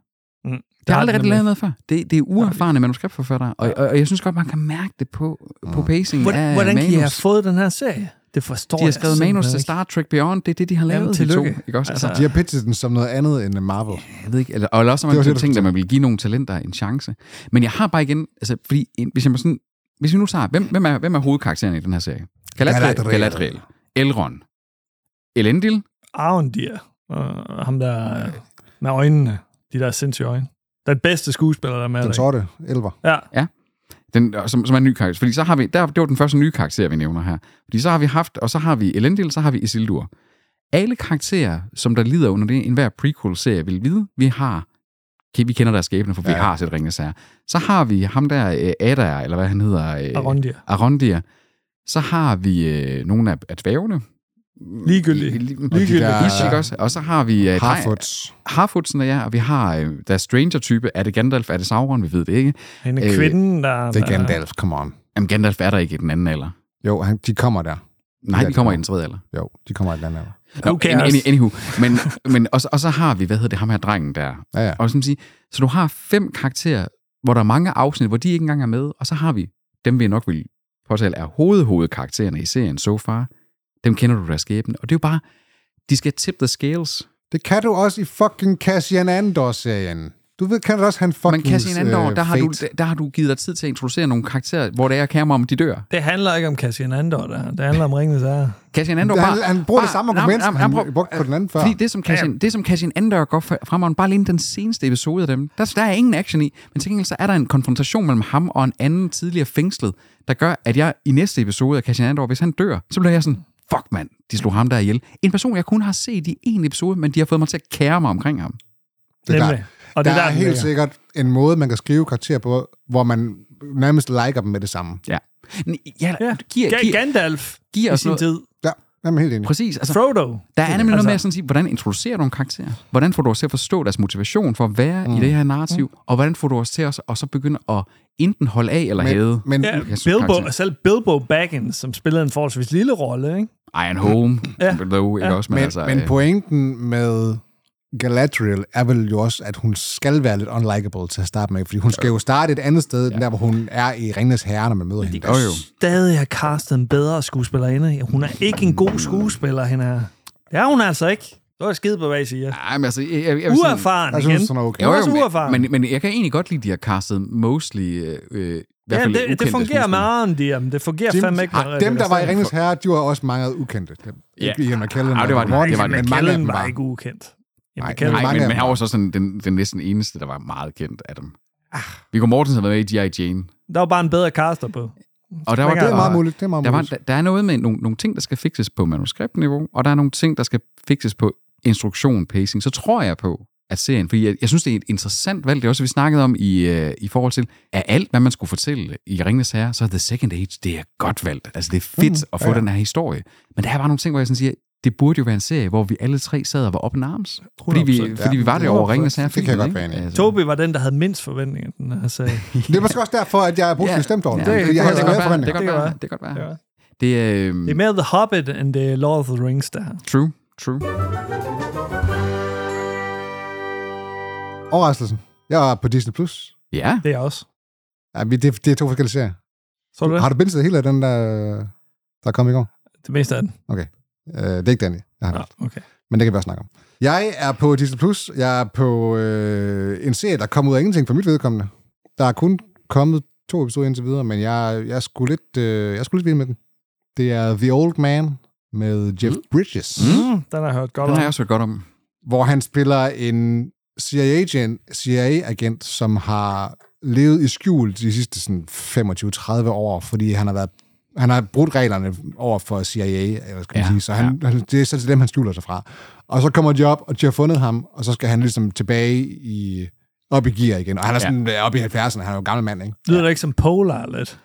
[SPEAKER 1] Mm.
[SPEAKER 2] De
[SPEAKER 1] Der
[SPEAKER 2] har
[SPEAKER 1] er
[SPEAKER 2] aldrig
[SPEAKER 1] den
[SPEAKER 2] rigtig
[SPEAKER 1] nemlig.
[SPEAKER 2] lavet noget før. Det, det er uerfarne manuskriptforfattere, og, og, og jeg synes godt, man kan mærke det på, på pacingen
[SPEAKER 1] Hvordan,
[SPEAKER 2] af
[SPEAKER 1] hvordan
[SPEAKER 2] øh, manus.
[SPEAKER 1] kan I have fået den her serie? Det forstår
[SPEAKER 2] de har
[SPEAKER 1] jeg
[SPEAKER 2] skrevet
[SPEAKER 1] simpelthen
[SPEAKER 2] manus til
[SPEAKER 1] ikke.
[SPEAKER 2] Star Trek Beyond, det er det, de har lavet,
[SPEAKER 1] Jamen,
[SPEAKER 2] de to.
[SPEAKER 1] tillykke. Altså-
[SPEAKER 2] Ikke også? Altså,
[SPEAKER 4] De har pitchet den som noget andet end Marvel.
[SPEAKER 2] jeg ved ikke, eller, og også har
[SPEAKER 4] Det var
[SPEAKER 2] man
[SPEAKER 4] det,
[SPEAKER 2] tænkt,
[SPEAKER 4] du fortalte.
[SPEAKER 2] at man ville give nogle talenter en chance. Men jeg har bare igen, altså, fordi en, hvis jeg må sådan, hvis vi nu tager, hvem, hvem, er, hvem er hovedkarakteren i den her serie? Galadriel,
[SPEAKER 4] Galadriel.
[SPEAKER 2] Galadriel Elrond, Elendil,
[SPEAKER 1] Arendir. Og ham der øh, med øjnene. De der sindssyge øjne. Den bedste skuespiller, der er med.
[SPEAKER 4] Den
[SPEAKER 1] ikke?
[SPEAKER 4] sorte elver.
[SPEAKER 1] Ja.
[SPEAKER 2] den, øh, som, som er en ny karakter. Fordi så har vi, der, det var den første nye karakter, vi nævner her. Fordi så har vi haft, og så har vi Elendil, så har vi Isildur. Alle karakterer, som der lider under det, enhver prequel-serie vil vide, vi har, okay, vi kender deres skæbne, for ja. vi har set Ringens Herre. Så har vi ham der, øh, Adar, eller hvad han hedder, øh,
[SPEAKER 1] Arondir.
[SPEAKER 2] Arondir. Så har vi øh, nogle af, af dværgene.
[SPEAKER 1] Ligegyldigt.
[SPEAKER 2] Ligegyldigt.
[SPEAKER 4] der-
[SPEAKER 2] Ja, også. Og så har vi... Øh,
[SPEAKER 4] Harfoots.
[SPEAKER 2] Harfudsen er ja, og vi har øh, der er Stranger-type. Er det Gandalf? Er det Sauron? Vi ved det ikke.
[SPEAKER 1] Hende
[SPEAKER 2] Øh,
[SPEAKER 1] øh, kvinden, der...
[SPEAKER 4] Det er
[SPEAKER 1] der-
[SPEAKER 4] Gandalf, come on.
[SPEAKER 2] Jamen, Gandalf er der ikke i den anden alder.
[SPEAKER 4] Jo, han, de kommer der.
[SPEAKER 2] Nej,
[SPEAKER 4] Ja,
[SPEAKER 2] de
[SPEAKER 4] det
[SPEAKER 2] kommer i
[SPEAKER 4] gør
[SPEAKER 2] den tredje alder.
[SPEAKER 4] Jo, de kommer i et eller andet.
[SPEAKER 2] Nå,
[SPEAKER 1] Okay,
[SPEAKER 2] any, any,
[SPEAKER 1] også.
[SPEAKER 2] anywho. Men, men og, så- og så har vi, hvad hedder det, ham her drengen der.
[SPEAKER 4] Ja, ja.
[SPEAKER 2] Og sådan sige, så du har fem karakterer, hvor der er mange afsnit, hvor de ikke engang er med, og så har vi dem, vi nok vil påtale er hovedhovedkaraktererne i serien so far. Dem kender du deres skæbne. Og det er jo bare, de skal tip the scales.
[SPEAKER 4] Det kan du også i fucking Cassian Andor-serien. Du ved, kan du også han
[SPEAKER 2] Men
[SPEAKER 4] fucking
[SPEAKER 2] Cassian Andor,
[SPEAKER 4] øh,
[SPEAKER 2] der har,
[SPEAKER 4] fate.
[SPEAKER 2] du, der, der har du givet dig tid til at introducere nogle karakterer, hvor det er kamera om, de dør.
[SPEAKER 1] Det handler ikke om Cassian Andor, der. Det handler om Ringens Herre.
[SPEAKER 2] Cassian Andor
[SPEAKER 4] Han-
[SPEAKER 2] bare,
[SPEAKER 4] han bruger det
[SPEAKER 2] bare-
[SPEAKER 4] samme
[SPEAKER 2] nej,
[SPEAKER 4] argument,
[SPEAKER 2] nej,
[SPEAKER 4] som
[SPEAKER 2] nej,
[SPEAKER 4] han
[SPEAKER 2] prøv-
[SPEAKER 4] brugte på den anden før.
[SPEAKER 2] Fordi det, som Cassian, det, som Cassian Andor går fre- fremad, bare lige den seneste episode af dem, der, der er ingen action i, men til gengæld så er der en konfrontation mellem ham og en anden tidligere fængslet, der gør, at jeg i næste episode af Cassian Andor, hvis han dør, så bliver jeg sådan, fuck mand, de slog ham der ihjel. En person, jeg kun har set i en episode, men de har fået mig til at kære mig omkring ham.
[SPEAKER 4] Det er
[SPEAKER 1] Nemlig.
[SPEAKER 4] klart.
[SPEAKER 1] Og
[SPEAKER 4] der,
[SPEAKER 1] det er
[SPEAKER 4] er
[SPEAKER 1] der, den
[SPEAKER 4] helt
[SPEAKER 1] ligger.
[SPEAKER 4] sikkert en måde, man kan skrive karakterer på, hvor man nærmest liker dem med det samme.
[SPEAKER 2] Ja. N- Ja,
[SPEAKER 1] Ja.
[SPEAKER 2] ja. Giver,
[SPEAKER 1] Ga-
[SPEAKER 2] giver,
[SPEAKER 1] Gandalf
[SPEAKER 2] giver
[SPEAKER 1] i
[SPEAKER 2] os
[SPEAKER 1] sin
[SPEAKER 2] noget.
[SPEAKER 1] tid.
[SPEAKER 4] Ja, jeg er helt enig.
[SPEAKER 2] Præcis. Altså,
[SPEAKER 1] Frodo.
[SPEAKER 2] Der er nemlig noget
[SPEAKER 1] Altså-
[SPEAKER 2] med at sådan sige, hvordan introducerer du en karakter? Hvordan får du os til at forstå deres motivation for at være mm. i det her narrativ? Og hvordan får du os til os at så begynde at enten holde af eller hade?
[SPEAKER 4] Men,
[SPEAKER 1] Ja,
[SPEAKER 2] synes,
[SPEAKER 1] Bilbo,
[SPEAKER 2] karakter-
[SPEAKER 1] og selv Bilbo Baggins, som spillede en forholdsvis lille rolle, ikke?
[SPEAKER 2] Iron Home,
[SPEAKER 1] Ja.
[SPEAKER 2] ja. Low, ikke
[SPEAKER 1] Ja.
[SPEAKER 2] også? Men,
[SPEAKER 4] men,
[SPEAKER 2] altså,
[SPEAKER 4] men
[SPEAKER 2] øh,
[SPEAKER 4] pointen med Galadriel er vel jo også, at hun skal være lidt unlikable til at starte med, fordi hun skal jo starte et andet sted, end der, hvor hun er i Ringens Herre, når man møder hende.
[SPEAKER 2] jo, jo.
[SPEAKER 1] Stadig har castet en bedre skuespillerinde. Hun er ikke en god skuespiller, hende her. Det er hun altså ikke. Det var skide på, hvad I siger.
[SPEAKER 2] Ej, men altså, jeg, jeg, jeg vil sige-
[SPEAKER 1] Uerfaren
[SPEAKER 4] Jeg
[SPEAKER 1] igen.
[SPEAKER 4] synes, hun er okay.
[SPEAKER 1] Jo, også uerfaren.
[SPEAKER 2] men, men, men jeg kan egentlig godt lide, at de har castet mostly... Øh, øh, i hvert
[SPEAKER 1] Ja,
[SPEAKER 2] fald
[SPEAKER 1] det, det
[SPEAKER 2] ukendte
[SPEAKER 1] fungerer med
[SPEAKER 2] skuespillere.
[SPEAKER 1] Arne Diem. Det fungerer
[SPEAKER 4] Dem,
[SPEAKER 1] fandme ikke med
[SPEAKER 4] ah, dem, der var i
[SPEAKER 1] Ringenes
[SPEAKER 4] Ringens Herre, de var også meget ukendte. Dem-
[SPEAKER 2] Ja.
[SPEAKER 4] Ikke Ian McKellen.
[SPEAKER 2] Ah, det var
[SPEAKER 4] og
[SPEAKER 2] de.
[SPEAKER 4] Mortensen,
[SPEAKER 2] Det var de.
[SPEAKER 4] men
[SPEAKER 1] Herre.
[SPEAKER 4] mange af dem
[SPEAKER 1] Kellen var
[SPEAKER 4] var.
[SPEAKER 1] ikke ukendt.
[SPEAKER 4] Nej,
[SPEAKER 1] Jamen, Kellen
[SPEAKER 4] nej.
[SPEAKER 1] var
[SPEAKER 2] Nej,
[SPEAKER 4] Mange
[SPEAKER 2] men,
[SPEAKER 4] af
[SPEAKER 2] men
[SPEAKER 4] dem
[SPEAKER 2] han
[SPEAKER 4] var-
[SPEAKER 2] var også sådan den, den næsten eneste, der var meget kendt af dem. Viggo Mortensen har været med i G.I. Jane.
[SPEAKER 1] Der var bare en bedre caster på.
[SPEAKER 2] Og der var,
[SPEAKER 1] Springer
[SPEAKER 4] Det er
[SPEAKER 2] der,
[SPEAKER 4] meget muligt. Det er meget
[SPEAKER 2] der, var,
[SPEAKER 4] muligt.
[SPEAKER 2] der, der er noget med nogle, nogle ting, der skal fikses på manuskriptniveau, og der er nogle ting, der skal fikses på instruktion, pacing. Så tror jeg på, at serien, fordi jeg, jeg synes, det er et interessant valg, det er også, vi snakkede om i, øh, i forhold til, at alt, hvad man skulle fortælle i Ringnes Herre, så er The Second Age, det er godt valgt. Altså, det er fedt mm, at få ja. den her historie. Men der er bare nogle ting, hvor jeg sådan siger, det burde jo være en serie, hvor vi alle tre sad og var oppe i arms. Fordi vi,
[SPEAKER 1] 100%,
[SPEAKER 2] fordi vi var
[SPEAKER 4] ja.
[SPEAKER 2] det over Ringnes Herre.
[SPEAKER 4] Det kan jeg
[SPEAKER 2] filmen,
[SPEAKER 4] godt være
[SPEAKER 2] ikke?
[SPEAKER 4] enig i.
[SPEAKER 2] Altså,
[SPEAKER 1] Tobi var den, der havde mindst forventninger. Den her sag.
[SPEAKER 2] Mm.
[SPEAKER 4] Det er måske også derfor, at jeg er positivt stemt over det.
[SPEAKER 2] Ja, det,
[SPEAKER 4] Jeg
[SPEAKER 2] kan
[SPEAKER 4] havde
[SPEAKER 2] godt
[SPEAKER 4] flere
[SPEAKER 2] være, det kan
[SPEAKER 4] forventninger.
[SPEAKER 2] godt
[SPEAKER 1] Det kan
[SPEAKER 2] være.
[SPEAKER 1] være.
[SPEAKER 2] Det kan godt
[SPEAKER 1] Det kan
[SPEAKER 2] være.
[SPEAKER 1] være.
[SPEAKER 2] Det, øh,
[SPEAKER 1] Det er mere The Hobbit, end det er Lord of the Rings, der
[SPEAKER 2] True, true.
[SPEAKER 4] Overraskelsen. Jeg var på Disney+. Plus.
[SPEAKER 2] Ja.
[SPEAKER 1] Det er jeg også.
[SPEAKER 4] Ja, vi- det, det er to forskellige serier.
[SPEAKER 1] Så du det?
[SPEAKER 4] Har du bindet hele af den, der, der kom i går?
[SPEAKER 1] Det meste af den.
[SPEAKER 4] Øh, det er ikke Daniel. Jeg har haft.
[SPEAKER 1] Okay.
[SPEAKER 4] Men det kan vi også snakke om. Jeg er på Disney+. Plus. Jeg er på øh, en serie, der kom ud af ingenting for mit vedkommende. Der er kun kommet to episoder indtil videre, men jeg, jeg, skulle lidt, øh, jeg skulle lidt vild med den. Det er The Old Man med Jeff Bridges,
[SPEAKER 1] Mm,
[SPEAKER 4] mm.
[SPEAKER 1] den har jeg hørt godt
[SPEAKER 2] Den
[SPEAKER 1] om.
[SPEAKER 2] har jeg også hørt godt om.
[SPEAKER 4] hvor han spiller en CIA-agent, CIA-agent, som har levet i skjul de sidste sådan 25-30 år, fordi han har været han har brudt reglerne over for CIA, eller hvad skal man
[SPEAKER 2] Ja,
[SPEAKER 4] ja, sige, så han, han, det er så til dem, han skjuler sig fra. Og så kommer de op, og de har fundet ham, og så skal han ligesom tilbage i, op i gear igen. Og han er sådan ja. op i 70'erne, han er jo en gammel mand, ikke?
[SPEAKER 1] Lyder det ikke som Polar lidt?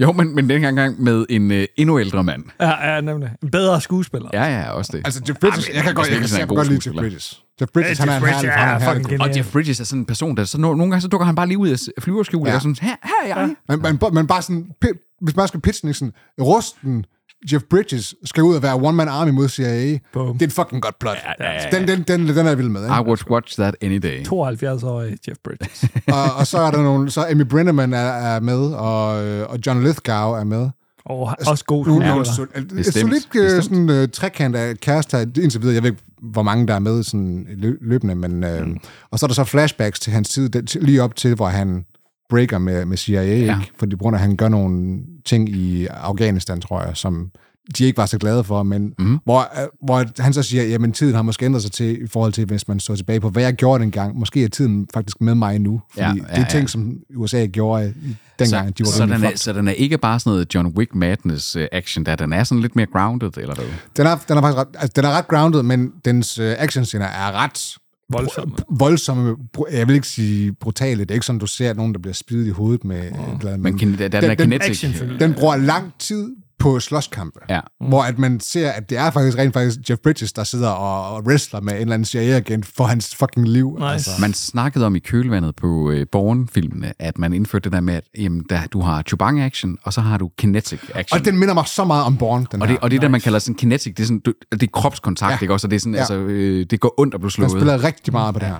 [SPEAKER 2] Jo, men, men den gang med en øh, endnu ældre mand.
[SPEAKER 1] Ja, ja, nemlig. En bedre skuespiller.
[SPEAKER 2] Ja, ja, også det.
[SPEAKER 4] Altså, Jeff Bridges,
[SPEAKER 2] men
[SPEAKER 4] jeg kan godt,
[SPEAKER 2] Mads
[SPEAKER 4] jeg kan
[SPEAKER 2] Mikkelsen er en god
[SPEAKER 4] sikkert godt lide Jeff
[SPEAKER 2] skuespiller.
[SPEAKER 4] Bridges. Jeff Bridges, han er en herlig, han er en herlig
[SPEAKER 1] fucking
[SPEAKER 4] god-
[SPEAKER 2] Og
[SPEAKER 1] genial.
[SPEAKER 2] Jeff Bridges er sådan en person, der så no- nogle gange så dukker han bare lige ud af s- flyverskjul, ja. og sådan, her, her er jeg.
[SPEAKER 4] Men, men, men bare sådan, pi- hvis man skal pitche den, ikke sådan, rusten Jeff Bridges skal ud og være one-man army mod CIA.
[SPEAKER 1] Boom.
[SPEAKER 4] Det er et fucking godt plot.
[SPEAKER 2] ja, ja, ja.
[SPEAKER 4] Den, den, den, den er jeg vild med. Ikke?
[SPEAKER 2] I would watch that any day.
[SPEAKER 1] 72-årig Jeff Bridges.
[SPEAKER 4] og, og så er der nogle, så Amy Brenneman er, er med, og, øh, og John Lithgow er med.
[SPEAKER 1] Og også god
[SPEAKER 4] Nu er
[SPEAKER 1] skuespiller.
[SPEAKER 4] det et
[SPEAKER 2] Bestemt,
[SPEAKER 4] solidt øh,
[SPEAKER 2] bestemt.
[SPEAKER 4] sådan, øh, trekant af kærester, indtil videre. Jeg ved ikke, hvor mange der er med sådan, lø- løbende, men... Øh,
[SPEAKER 2] Mm.
[SPEAKER 4] Og så er der så flashbacks til hans tid, den- til- lige op til, hvor han breaker med, med CIA, ja. ikke? fordi på grund af, at han gør nogle ting i Afghanistan, tror jeg, som de ikke var så glade for, men mm. hvor, øh, hvor han så siger, jamen tiden har måske ændret sig til, i forhold til, hvis man så tilbage på, hvad jeg gjorde dengang. Måske er tiden faktisk med mig nu, fordi
[SPEAKER 2] Ja,
[SPEAKER 4] ja,
[SPEAKER 2] ja,
[SPEAKER 4] ja, det er ting,
[SPEAKER 2] ja.
[SPEAKER 4] som USA gjorde i- dengang, de var
[SPEAKER 2] så, den
[SPEAKER 4] rimelig
[SPEAKER 2] er, så den er ikke bare sådan noget John Wick Madness øh, action, der den er sådan lidt mere grounded, eller hvad?
[SPEAKER 4] Den er, den er faktisk ret, altså, den er ret grounded, men dens øh, actionscener er ret
[SPEAKER 1] Voldsom.
[SPEAKER 2] Altså,
[SPEAKER 4] voldsomme, br- jeg vil ikke sige brutale. Det er ikke sådan, du ser nogen, der bliver spidet i hovedet med øh, et eller andet.
[SPEAKER 2] Mm. Men kin- der, der, den, er
[SPEAKER 4] den,
[SPEAKER 2] kinetic.
[SPEAKER 1] actionfilm.
[SPEAKER 4] den bruger lang tid på slåskampe,
[SPEAKER 2] Ja.
[SPEAKER 4] hvor at man ser, at det er faktisk rent faktisk Jeff Bridges, der sidder og, og wrestler med en eller anden CIA-agent for hans fucking liv.
[SPEAKER 1] Nice.
[SPEAKER 2] altså, Man snakkede om i kølvandet på øh, Born-filmene, at man indførte det der med, at jamen, der, du har Chubang-action, og så har du kinetic action.
[SPEAKER 4] Og den minder mig så meget om Bourne, den
[SPEAKER 2] og
[SPEAKER 4] her.
[SPEAKER 2] det, og det nice. der, man kalder sådan kinetic, det er, sådan, du- det er kropskontakt,
[SPEAKER 4] Ja.
[SPEAKER 2] ikke også? Og det, er sådan,
[SPEAKER 4] Ja.
[SPEAKER 2] altså, øh, det går ondt at blive
[SPEAKER 4] Den
[SPEAKER 2] slået.
[SPEAKER 4] spiller rigtig meget på det her.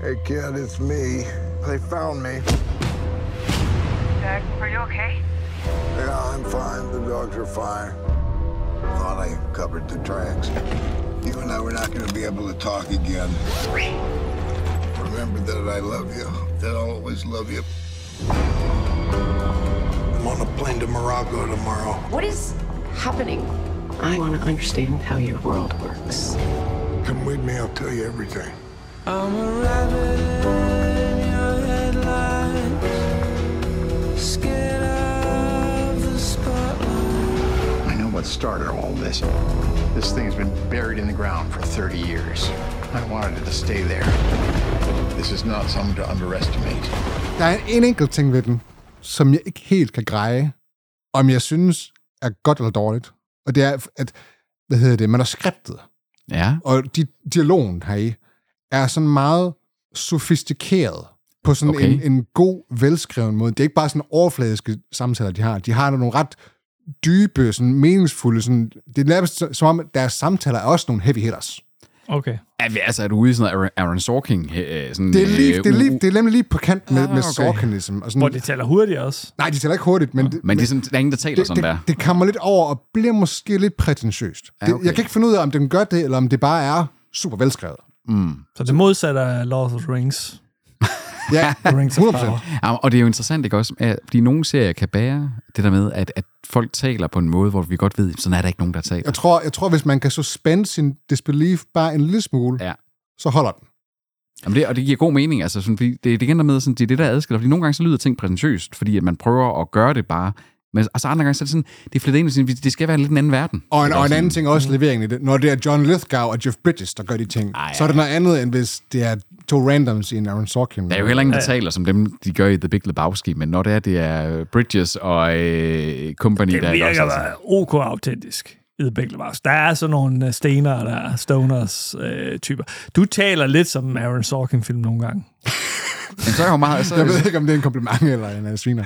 [SPEAKER 9] Hey, kid, it's me. They found me.
[SPEAKER 3] Jack, are you okay?
[SPEAKER 9] Yeah, I'm fine. The dogs are fine. Thought I covered the tracks. You and I were not going to be able to talk again. Remember that I love you. That I'll always love you. I'm on a plane to Morocco tomorrow.
[SPEAKER 11] What is happening? I want to understand how your world works.
[SPEAKER 9] Come with me. I'll tell you everything. I know what started all this. This thing's been buried in the ground for 30 years. I wanted it to stay there. This is not something to underestimate.
[SPEAKER 4] Der er en enkelt ting ved den, som jeg ikke helt kan greje, om jeg synes er godt eller dårligt. Og det er, at, hvad hedder det, man er skriptet.
[SPEAKER 2] Ja.
[SPEAKER 4] Og di- dialogen heri er sådan meget sofistikeret på sådan
[SPEAKER 2] Okay.
[SPEAKER 4] okay. en, en god, velskreven måde. Det er ikke bare sådan overfladiske samtaler, de har. De har nogle ret dybe, sådan meningsfulde, sådan, det er nærmest som- som om, at deres samtaler er også nogle heavy hitters.
[SPEAKER 1] Okay.
[SPEAKER 2] Er vi- Altså, er du ude i sådan noget Aaron- Aaron Sorkin? øh, Sådan,
[SPEAKER 4] Det er, lige,
[SPEAKER 2] øh,
[SPEAKER 4] det, er lige,
[SPEAKER 2] u-
[SPEAKER 4] det er nemlig lige på kant med, ah,
[SPEAKER 2] Ah,
[SPEAKER 4] okay.
[SPEAKER 2] okay.
[SPEAKER 4] med sorkinism. Og sådan,
[SPEAKER 1] Hvor de taler hurtigt også.
[SPEAKER 4] Nej, de taler ikke hurtigt, men, det,
[SPEAKER 2] Men det er sådan, der er ingen, der taler
[SPEAKER 4] det,
[SPEAKER 2] sådan
[SPEAKER 4] det,
[SPEAKER 2] der.
[SPEAKER 4] det kommer lidt over og bliver måske lidt prætentiøst.
[SPEAKER 2] Ja,
[SPEAKER 4] Ja, okay.
[SPEAKER 2] okay.
[SPEAKER 4] det, jeg kan ikke finde ud af, om den gør det, eller om det bare er super velskrevet.
[SPEAKER 1] Så det modsatte af Lord of the Rings.
[SPEAKER 4] Ja,
[SPEAKER 1] Rings of
[SPEAKER 4] 100%.
[SPEAKER 1] Power.
[SPEAKER 2] Ja, og det er jo interessant, ikke også? At, fordi nogle serier kan bære det der med, at, at folk taler på en måde, hvor vi godt ved, sådan er der ikke nogen, der taler.
[SPEAKER 4] Jeg tror, jeg tror, hvis man kan suspende sin disbelief bare en lille smule,
[SPEAKER 2] Ja.
[SPEAKER 4] så holder den.
[SPEAKER 2] Jamen det, og det giver god mening, altså, sådan, fordi det, det er igen der med, sådan, det er det, der adskiller, fordi nogle gange så lyder ting prætentiøst, fordi at man prøver at gøre det bare, men og så andre gange, så er det sådan, det er flettet ind, i sådan, det skal være en lidt en anden verden.
[SPEAKER 4] Og en,
[SPEAKER 2] Ikke
[SPEAKER 4] og en
[SPEAKER 2] også? Mm.
[SPEAKER 4] anden ting er også leveringen i det. Når det er John Lithgow og Jeff Bridges, der gør de ting, Ej, så er det noget andet, end hvis det er to randoms i en Aaron Sorkin.
[SPEAKER 2] Der er jo heller ingen, der taler som dem, de gør i The Big Lebowski, men når det er, det er Bridges og øh, Company,
[SPEAKER 1] Det
[SPEAKER 2] der ikke
[SPEAKER 1] virker
[SPEAKER 2] også, altså.
[SPEAKER 1] bare ok autentisk. I The Big Lebowski. Der er sådan nogle øh, stener, der er stoners øh, typer. Du taler lidt som Aaron Sorkin-film nogle gange.
[SPEAKER 2] Men så er jo meget... Så,
[SPEAKER 4] Jeg ved ikke, om det er en kompliment eller en øh, sviner.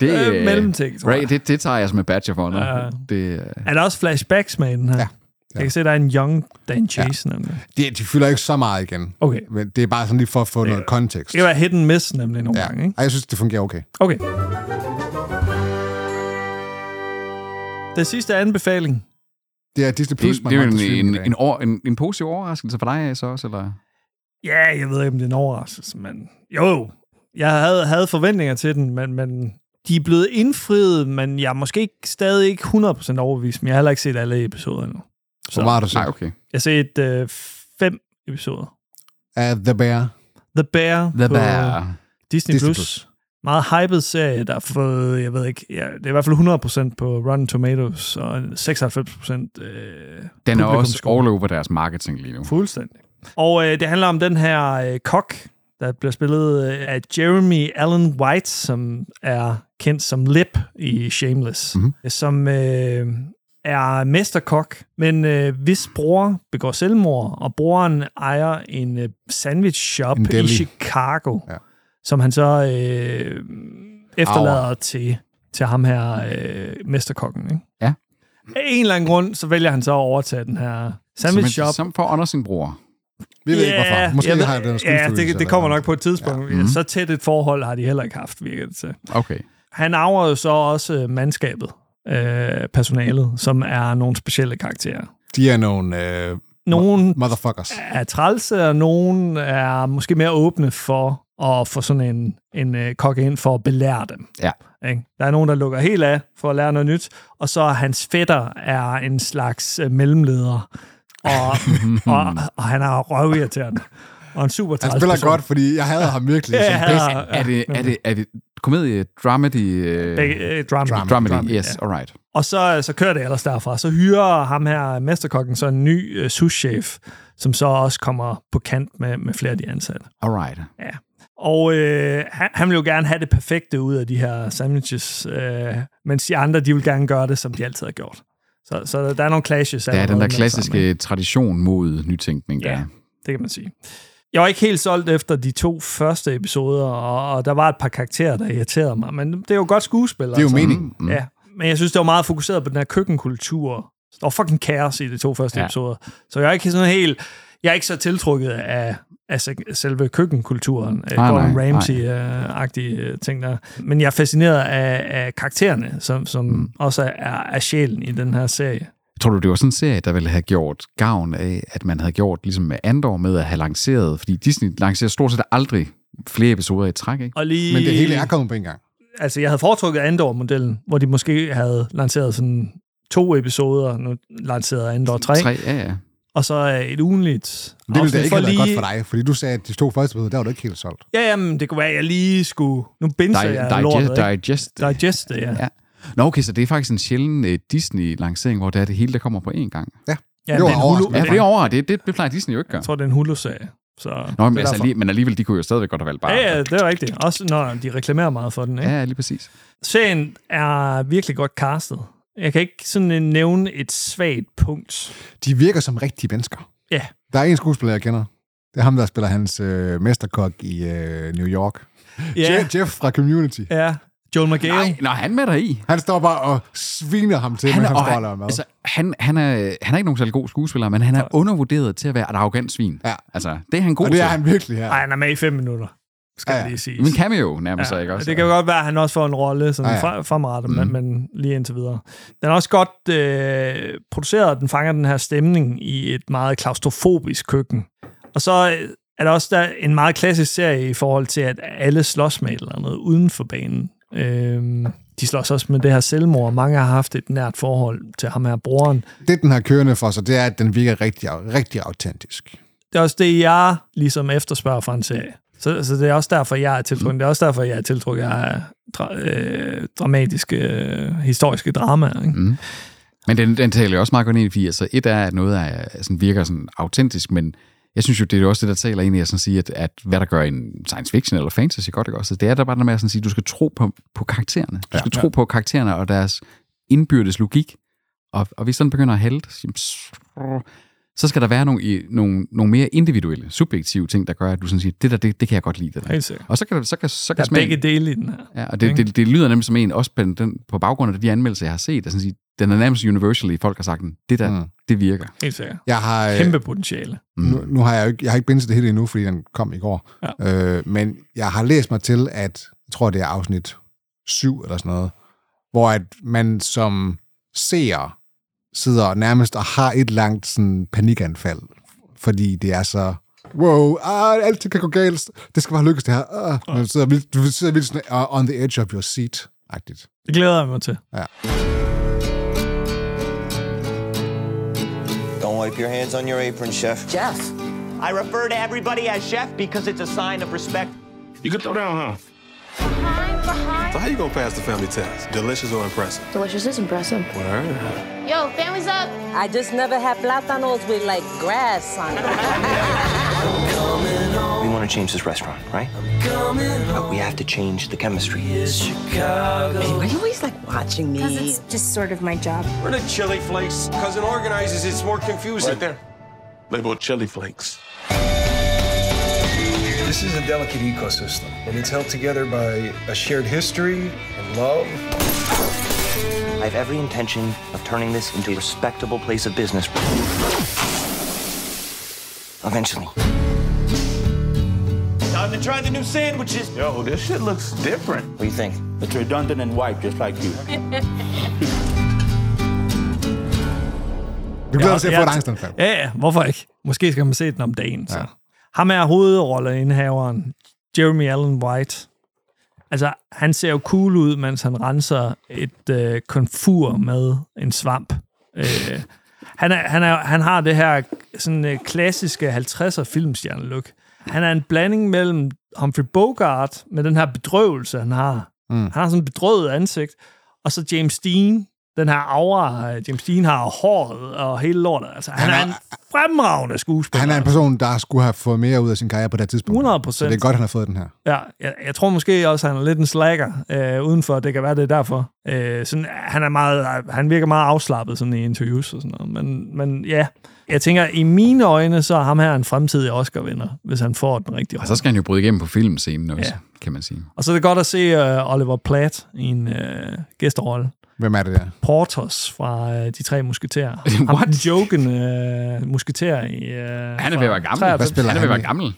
[SPEAKER 2] det,
[SPEAKER 1] Øh, mellemting, tror jeg.
[SPEAKER 2] Ray, det, det tager jeg som en badge for. Ja.
[SPEAKER 1] Ja.
[SPEAKER 2] Det, øh,
[SPEAKER 1] Er der også flashbacks med i den her? Ja. Jeg kan se, der er en young Dan Chase ja. nemlig.
[SPEAKER 4] De, de fylder ikke så meget igen.
[SPEAKER 1] Okay.
[SPEAKER 4] Men det er bare sådan lige for at få noget kontekst.
[SPEAKER 1] Det kan være hit and miss nemlig nogle ja.
[SPEAKER 4] Ja.
[SPEAKER 1] gange, ikke?
[SPEAKER 4] Ej, jeg synes, det fungerer okay.
[SPEAKER 1] Okay. Den sidste anbefaling.
[SPEAKER 4] Det er Disney
[SPEAKER 2] Det,
[SPEAKER 4] Plus,
[SPEAKER 2] det er jo en, en,
[SPEAKER 4] en,
[SPEAKER 2] en, over, en, en positiv overraskelse for dig, så også, eller?
[SPEAKER 1] Ja, jeg ved ikke, om det er en overraskelse, men jo, jeg havde, havde forventninger til den, men, men de er blevet indfriet, men jeg er måske ikke, stadig ikke 100% overbevist, men jeg har heller ikke set alle episoder endnu.
[SPEAKER 4] Hvor meget har du set?
[SPEAKER 2] Nej, okay.
[SPEAKER 1] Jeg har set øh, fem episoder.
[SPEAKER 4] Af The Bear.
[SPEAKER 1] The Bear
[SPEAKER 2] The
[SPEAKER 1] på
[SPEAKER 2] Bear.
[SPEAKER 1] Disney,
[SPEAKER 4] Disney
[SPEAKER 1] Plus.
[SPEAKER 4] Plus.
[SPEAKER 1] Meget hyped serie, der har fået, jeg ved ikke, ja, det er i hvert fald 100% på Rotten Tomatoes, og 96% øh,
[SPEAKER 2] Den er også
[SPEAKER 1] publikumsscore.
[SPEAKER 2] all over deres marketing lige nu.
[SPEAKER 1] Fuldstændig. Og øh, det handler om den her øh, kok, der bliver spillet øh, af Jeremy Allen White, som er kendt som Lip i Shameless,
[SPEAKER 2] Mhm.
[SPEAKER 1] mm-hmm. som øh, er mesterkok, men øh, hvis bror begår selvmord, og broren ejer en øh, sandwich shop
[SPEAKER 4] En
[SPEAKER 1] i
[SPEAKER 4] deli.
[SPEAKER 1] Chicago,
[SPEAKER 4] Ja.
[SPEAKER 1] ja. som han så øh, efterlader til, til ham her øh, mesterkokken. Ikke?
[SPEAKER 2] Ja.
[SPEAKER 1] Af en eller anden grund, så vælger han så at overtage den her sandwich
[SPEAKER 2] som,
[SPEAKER 1] shop.
[SPEAKER 2] som for Anders sin bror.
[SPEAKER 4] Vi ved ikke, hvorfor. Måske
[SPEAKER 1] jeg ved-
[SPEAKER 4] har jeg den
[SPEAKER 1] Ja,
[SPEAKER 4] skyldfølelse
[SPEAKER 1] det, det
[SPEAKER 4] eller
[SPEAKER 1] kommer
[SPEAKER 4] noget.
[SPEAKER 1] nok på et tidspunkt. Ja.
[SPEAKER 2] Mhm.
[SPEAKER 1] Mm-hmm. Så tæt et forhold har de heller ikke haft, virker det til.
[SPEAKER 2] Okay.
[SPEAKER 1] Han arver jo så også øh, mandskabet, øh, personalet, som er nogle specielle karakterer.
[SPEAKER 4] De er nogle øh,
[SPEAKER 1] Nogle
[SPEAKER 4] motherfuckers.
[SPEAKER 1] er trælse, og nogen er måske mere åbne for at få sådan en, en øh, kok ind for at belære dem.
[SPEAKER 2] Ja.
[SPEAKER 1] Ikke? Der er nogen, der lukker helt af for at lære noget nyt, og så er hans fætter er en slags øh, mellemleder, og, og, og han er røvirriterende, og en super
[SPEAKER 4] Han
[SPEAKER 1] træls
[SPEAKER 4] spiller
[SPEAKER 1] person.
[SPEAKER 4] godt, fordi jeg hader ham virkelig.
[SPEAKER 1] Ah, Ja,
[SPEAKER 4] som
[SPEAKER 1] jeg
[SPEAKER 4] bedst.
[SPEAKER 1] hader-
[SPEAKER 2] Er, er, det, er, det, er det komedie, dramedy? Øh,
[SPEAKER 1] Begge, øh, drama.
[SPEAKER 4] Drama.
[SPEAKER 2] dramedy,
[SPEAKER 4] Dramedy,
[SPEAKER 2] yes, all right.
[SPEAKER 1] Og så, så kører det ellers derfra. Så hyrer ham her, mesterkokken, så en ny øh, souschef, som så også kommer på kant med, med flere af de ansatte.
[SPEAKER 2] All right.
[SPEAKER 1] Ja. Og øh, han, han vil jo gerne have det perfekte ud af de her sandwiches, øh, mens de andre, de vil gerne gøre det, som de altid har gjort. Så, så der er nogle clashes.
[SPEAKER 2] Der er
[SPEAKER 1] allerede
[SPEAKER 2] den der
[SPEAKER 1] med det samme,
[SPEAKER 2] klassiske tradition mod nytænkning, der.
[SPEAKER 1] Ja.
[SPEAKER 2] er.
[SPEAKER 1] det kan man sige. Jeg var ikke helt solgt efter de to første episoder, og, og der var et par karakterer, der irriterede mig, men det er jo godt skuespil. altså.
[SPEAKER 4] Det er jo meningen.
[SPEAKER 2] Mm.
[SPEAKER 1] Ja, men jeg synes, det var meget fokuseret på den her køkkenkultur. Der var fucking kaos i de to første
[SPEAKER 2] Ja.
[SPEAKER 1] ja. episoder. Så jeg er ikke sådan helt... Jeg er ikke så tiltrukket af, af se- selve køkkenkulturen.
[SPEAKER 2] Nej,
[SPEAKER 1] Nej, Gordon
[SPEAKER 2] nej,
[SPEAKER 1] Ramsay-agtige øh, ting der. Men jeg er fascineret af, af karaktererne, som, som mm. også er, er sjælen i den her serie.
[SPEAKER 2] Tror du, det var sådan en serie, der ville have gjort gavn af, at man havde gjort ligesom med Andor med at have lanceret, fordi Disney lancerer stort set aldrig flere episoder i træk, ikke?
[SPEAKER 1] Og lige,
[SPEAKER 4] Men det hele er kommet på en gang.
[SPEAKER 1] Altså, jeg havde foretrukket Andor-modellen, hvor de måske havde lanceret sådan to episoder, nu lancerede Andor tre,
[SPEAKER 2] Tre, ja, ja.
[SPEAKER 1] og så øh, et ugenligt
[SPEAKER 4] Men Det ville
[SPEAKER 1] afsnit
[SPEAKER 4] da ikke
[SPEAKER 1] for
[SPEAKER 4] have været
[SPEAKER 1] lige-
[SPEAKER 4] godt for dig, fordi du sagde, at de to første episoder, der var du ikke helt solgt.
[SPEAKER 1] Ja, jamen, det kunne være, at jeg lige skulle... Nu binser
[SPEAKER 2] Dig,
[SPEAKER 1] jeg
[SPEAKER 2] digest,
[SPEAKER 1] lortet, ikke?
[SPEAKER 2] digest,
[SPEAKER 1] Digest det, ja.
[SPEAKER 2] Ja. Nå, okay, så det er faktisk en sjælden uh, Disney-lancering, hvor det er det hele, der kommer på én gang.
[SPEAKER 1] ja
[SPEAKER 4] Det var
[SPEAKER 1] det er en hulu,
[SPEAKER 2] Ja,
[SPEAKER 4] overraskende.
[SPEAKER 1] ja,
[SPEAKER 2] for det er over, det, det, det plejer Disney jo ikke at gøre.
[SPEAKER 1] Jeg tror, det er en hulu-serie. Så
[SPEAKER 2] Nå, men,
[SPEAKER 1] det er
[SPEAKER 2] altså,
[SPEAKER 1] derfor.
[SPEAKER 2] alli- men alligevel, de kunne jo stadigvæk godt have valgt bare.
[SPEAKER 1] Ja, ja, det er rigtigt. Også når de reklamerer meget for den, ikke? Ja.
[SPEAKER 2] ja, lige præcis.
[SPEAKER 1] Serien er virkelig godt castet. Jeg kan ikke sådan øh, nævne et svagt punkt.
[SPEAKER 4] De virker som rigtige mennesker.
[SPEAKER 1] Ja.
[SPEAKER 4] Der er en skuespiller, jeg kender. Det er ham, der spiller hans øh, mesterkok i øh, New York.
[SPEAKER 1] Ja,
[SPEAKER 4] Je- Jeff fra Community.
[SPEAKER 1] ja. Joel McGale.
[SPEAKER 2] Nej, nej, han er med deri.
[SPEAKER 4] Han står bare og sviner ham til, han, men han
[SPEAKER 2] og
[SPEAKER 4] står og laver mad.
[SPEAKER 2] altså, han, han, er, han er ikke nogen særlig god skuespiller, men han er undervurderet til at være et arrogant svin.
[SPEAKER 4] Ja.
[SPEAKER 2] Altså, det er han god
[SPEAKER 4] og det
[SPEAKER 2] til.
[SPEAKER 4] er han virkelig her.
[SPEAKER 1] Ej, han er med i fem minutter, skal
[SPEAKER 4] Ja,
[SPEAKER 1] ja,
[SPEAKER 4] ja.
[SPEAKER 1] lige sige.
[SPEAKER 2] Men cameo nærmest, ja, ikke også?
[SPEAKER 1] det kan jo godt være, at han også får en rolle sådan
[SPEAKER 4] Ja,
[SPEAKER 1] ja,
[SPEAKER 4] ja.
[SPEAKER 1] ja. fremadrettet, mm. men, men lige indtil videre. Den er også godt øh, produceret, og den fanger den her stemning i et meget klaustrofobisk køkken. Og så øh, er der også der en meget klassisk serie i forhold til, at alle slås med et eller andet uden for banen. Øhm, de slås også med det her selvmord. Mange har haft et nært forhold til ham her broren.
[SPEAKER 4] Det, den har kørende for sig, det er, at den virker rigtig, rigtig autentisk.
[SPEAKER 1] Det er også det, jeg ligesom efterspørger fra en serie. Så, så det er også derfor, jeg er tiltrukket. Det er også derfor, jeg er tiltrukket af dra- øh, dramatiske, øh, historiske dramaer. Ikke? Mm.
[SPEAKER 2] Men den, den taler jo også meget godt ind i, fordi altså, et er, at noget er, sådan, virker sådan autentisk, men jeg synes jo, det er jo også det, der taler ind i at, sådan sige, at, at hvad der gør en science fiction eller fantasy godt, ikke også? Det er der bare noget med at sådan sige, du skal tro på, på karaktererne. Du skal ja, tro på karaktererne og deres indbyrdes logik. Og, og hvis den begynder at hælde, så- så skal der være nogle, i- nogle, nogle mere individuelle, subjektive ting, der gør, at du sådan siger, det der, det, det kan jeg godt lide. Det der.
[SPEAKER 1] Helt sikkert.
[SPEAKER 2] Og så kan, så kan, så
[SPEAKER 1] Der
[SPEAKER 2] kan
[SPEAKER 1] er
[SPEAKER 2] smagen-
[SPEAKER 1] begge dele i den her.
[SPEAKER 2] Ja, og det, det, det lyder nemlig som en, også på, den, på baggrund af de anmeldelser, jeg har set, at sådan sige, den er nærmest universally, folk har sagt, den, det der,
[SPEAKER 4] Mm.
[SPEAKER 2] mm. det virker.
[SPEAKER 1] Helt sikkert.
[SPEAKER 4] Jeg har, øh,
[SPEAKER 1] Kæmpe potentiale.
[SPEAKER 4] Nu,
[SPEAKER 1] Mm.
[SPEAKER 4] nu har jeg jo ikke, jeg har ikke bindet det hele endnu, fordi den kom i går. Ja. Øh, men jeg har læst mig til, at jeg tror, det er afsnit 7 eller sådan noget, hvor at man som seere sidder nærmest og har et langt sådan, panikanfald, fordi det er så... Wow, ah, alt kan gå galt. Det skal bare lykkes, det her. Ah. Man sidder vildt, du sidder vildt sådan, uh, on the edge of your seat-agtigt.
[SPEAKER 1] Det glæder jeg mig til.
[SPEAKER 4] Ja.
[SPEAKER 12] Don't wipe your hands on your apron, Chef.
[SPEAKER 5] Jeff. I refer to everybody as Chef because it's a sign of respect.
[SPEAKER 8] You can throw down, huh? So how you gonna pass the family test? Delicious or impressive?
[SPEAKER 11] Delicious is impressive.
[SPEAKER 8] Word.
[SPEAKER 13] Yo, family's up. I just never had platanos with like grass on
[SPEAKER 12] We want to change this restaurant, right? But we have to change the chemistry.
[SPEAKER 13] Hey, why are you always like watching me? Because it's just sort of my job.
[SPEAKER 8] We're the chili flakes. Cousin organizes, it's more confusing. Right there. Labeled chili flakes.
[SPEAKER 14] This is a delicate ecosystem, and it's held together by a shared history and love.
[SPEAKER 12] I have every intention of turning this into a respectable place of business. Eventually.
[SPEAKER 5] Time to try the new sandwiches. Yo, this shit looks different.
[SPEAKER 12] What do you think?
[SPEAKER 15] It's redundant and white, just like you.
[SPEAKER 4] Du glæder dig til at få et angstanfald.
[SPEAKER 1] Ja, ja, hvorfor ikke? Måske skal man se den om dagen. Så. Ja. Ham er hovedrolleindehaveren, Jeremy Allen White. Altså, han ser jo cool ud, mens han renser et øh, konfur med en svamp. Øh, han, er, han, er, han har det her sådan, øh, klassiske 50'er filmstjerne-look. Han er en blanding mellem Humphrey Bogart med den her bedrøvelse, han har. Mm. Han har sådan et bedrøvet ansigt. Og så James Dean, den her aura, øh, James Dean har og håret og hele lortet. Altså, han, han er, er en fremragende skuespiller.
[SPEAKER 4] Han er en person, der skulle have fået mere ud af sin karriere på det her tidspunkt.
[SPEAKER 1] 100%.
[SPEAKER 4] Så det er godt, han har fået den her.
[SPEAKER 1] Ja, jeg, jeg tror måske også, at han er lidt en slacker øh, udenfor. Det kan være, det er derfor. Øh, sådan, han, er meget, han virker meget afslappet sådan i interviews og sådan noget. Men, men ja, jeg tænker, i mine øjne, så er ham her en fremtidig Oscar-vinder, hvis han får den rigtige
[SPEAKER 2] Og så skal han jo bryde igennem på filmscenen også,
[SPEAKER 1] Ja.
[SPEAKER 2] ja. kan man sige.
[SPEAKER 1] Og så er det godt at se øh, Oliver Platt i en øh, gæsterolle.
[SPEAKER 4] Hvem er det der?
[SPEAKER 1] Portos fra øh, De Tre Musketerer. Ham den jokende øh, musketer i... Øh,
[SPEAKER 2] Han er ved at være gammel.
[SPEAKER 1] 93.
[SPEAKER 2] Hvad spiller han er ved at være gammel.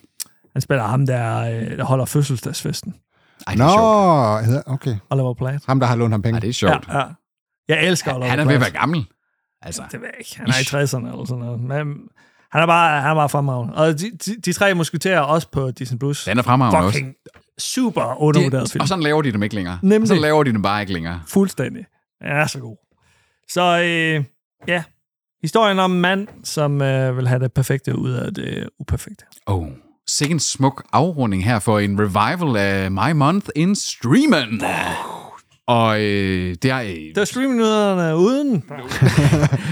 [SPEAKER 1] Han spiller ham, der, øh, der holder fødselsdagsfesten.
[SPEAKER 2] Ej,
[SPEAKER 4] Nå, hedder- okay.
[SPEAKER 1] Oliver Platt.
[SPEAKER 4] Ham, der har lånt ham penge.
[SPEAKER 2] Ej, det er sjovt.
[SPEAKER 1] Ja, ja. Jeg elsker Oliver
[SPEAKER 2] Han er ved
[SPEAKER 1] Platt.
[SPEAKER 2] at være gammel. Altså,
[SPEAKER 1] Det ved jeg ikke. Han er i 60'erne eller sådan noget. Men han er bare, han er bare fremragende. Og de, de, de tre musketerer er også på Disney+. Plus.
[SPEAKER 2] Den er fremragende også.
[SPEAKER 1] Fucking super undervurderet
[SPEAKER 2] det,
[SPEAKER 1] film.
[SPEAKER 2] og sådan laver de dem ikke længere.
[SPEAKER 1] Nemlig.
[SPEAKER 2] Og så laver de dem bare ikke længere.
[SPEAKER 1] Fuldstændig. Den er så god. Så øh, ja, historien om en mand, som øh, vil have det perfekte ud af det uperfekte.
[SPEAKER 2] Oh, sikke en smuk afrunding her for en revival af My Month in Streamen. Og øh, det er... Øh,
[SPEAKER 1] Der er streamingnyhederne uden.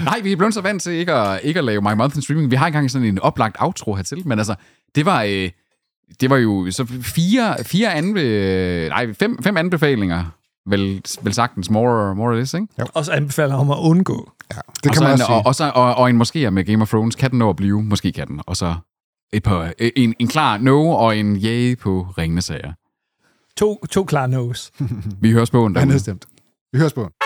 [SPEAKER 2] nej, vi er blevet så vant til ikke at, ikke at lave My Month in Streaming. Vi har ikke engang sådan en oplagt outro hertil, men altså, det var... Øh, det var jo så fire, fire anbe, øh, nej, fem, fem anbefalinger, vel, vel sagtens, more, more or less, ikke?
[SPEAKER 1] Og så anbefaler jeg om at undgå.
[SPEAKER 4] Det
[SPEAKER 2] og
[SPEAKER 4] kan
[SPEAKER 2] så
[SPEAKER 4] man
[SPEAKER 2] en,
[SPEAKER 4] også sige.
[SPEAKER 2] og, og, så, og, og en måske med Game of Thrones. Kan den nå at blive? Måske kan den. Og så et par, øh, en, en klar no og en yay på ringende sager.
[SPEAKER 1] To, to klare no's.
[SPEAKER 2] Vi høres på en
[SPEAKER 4] Han er nedstemt. Vi høres på.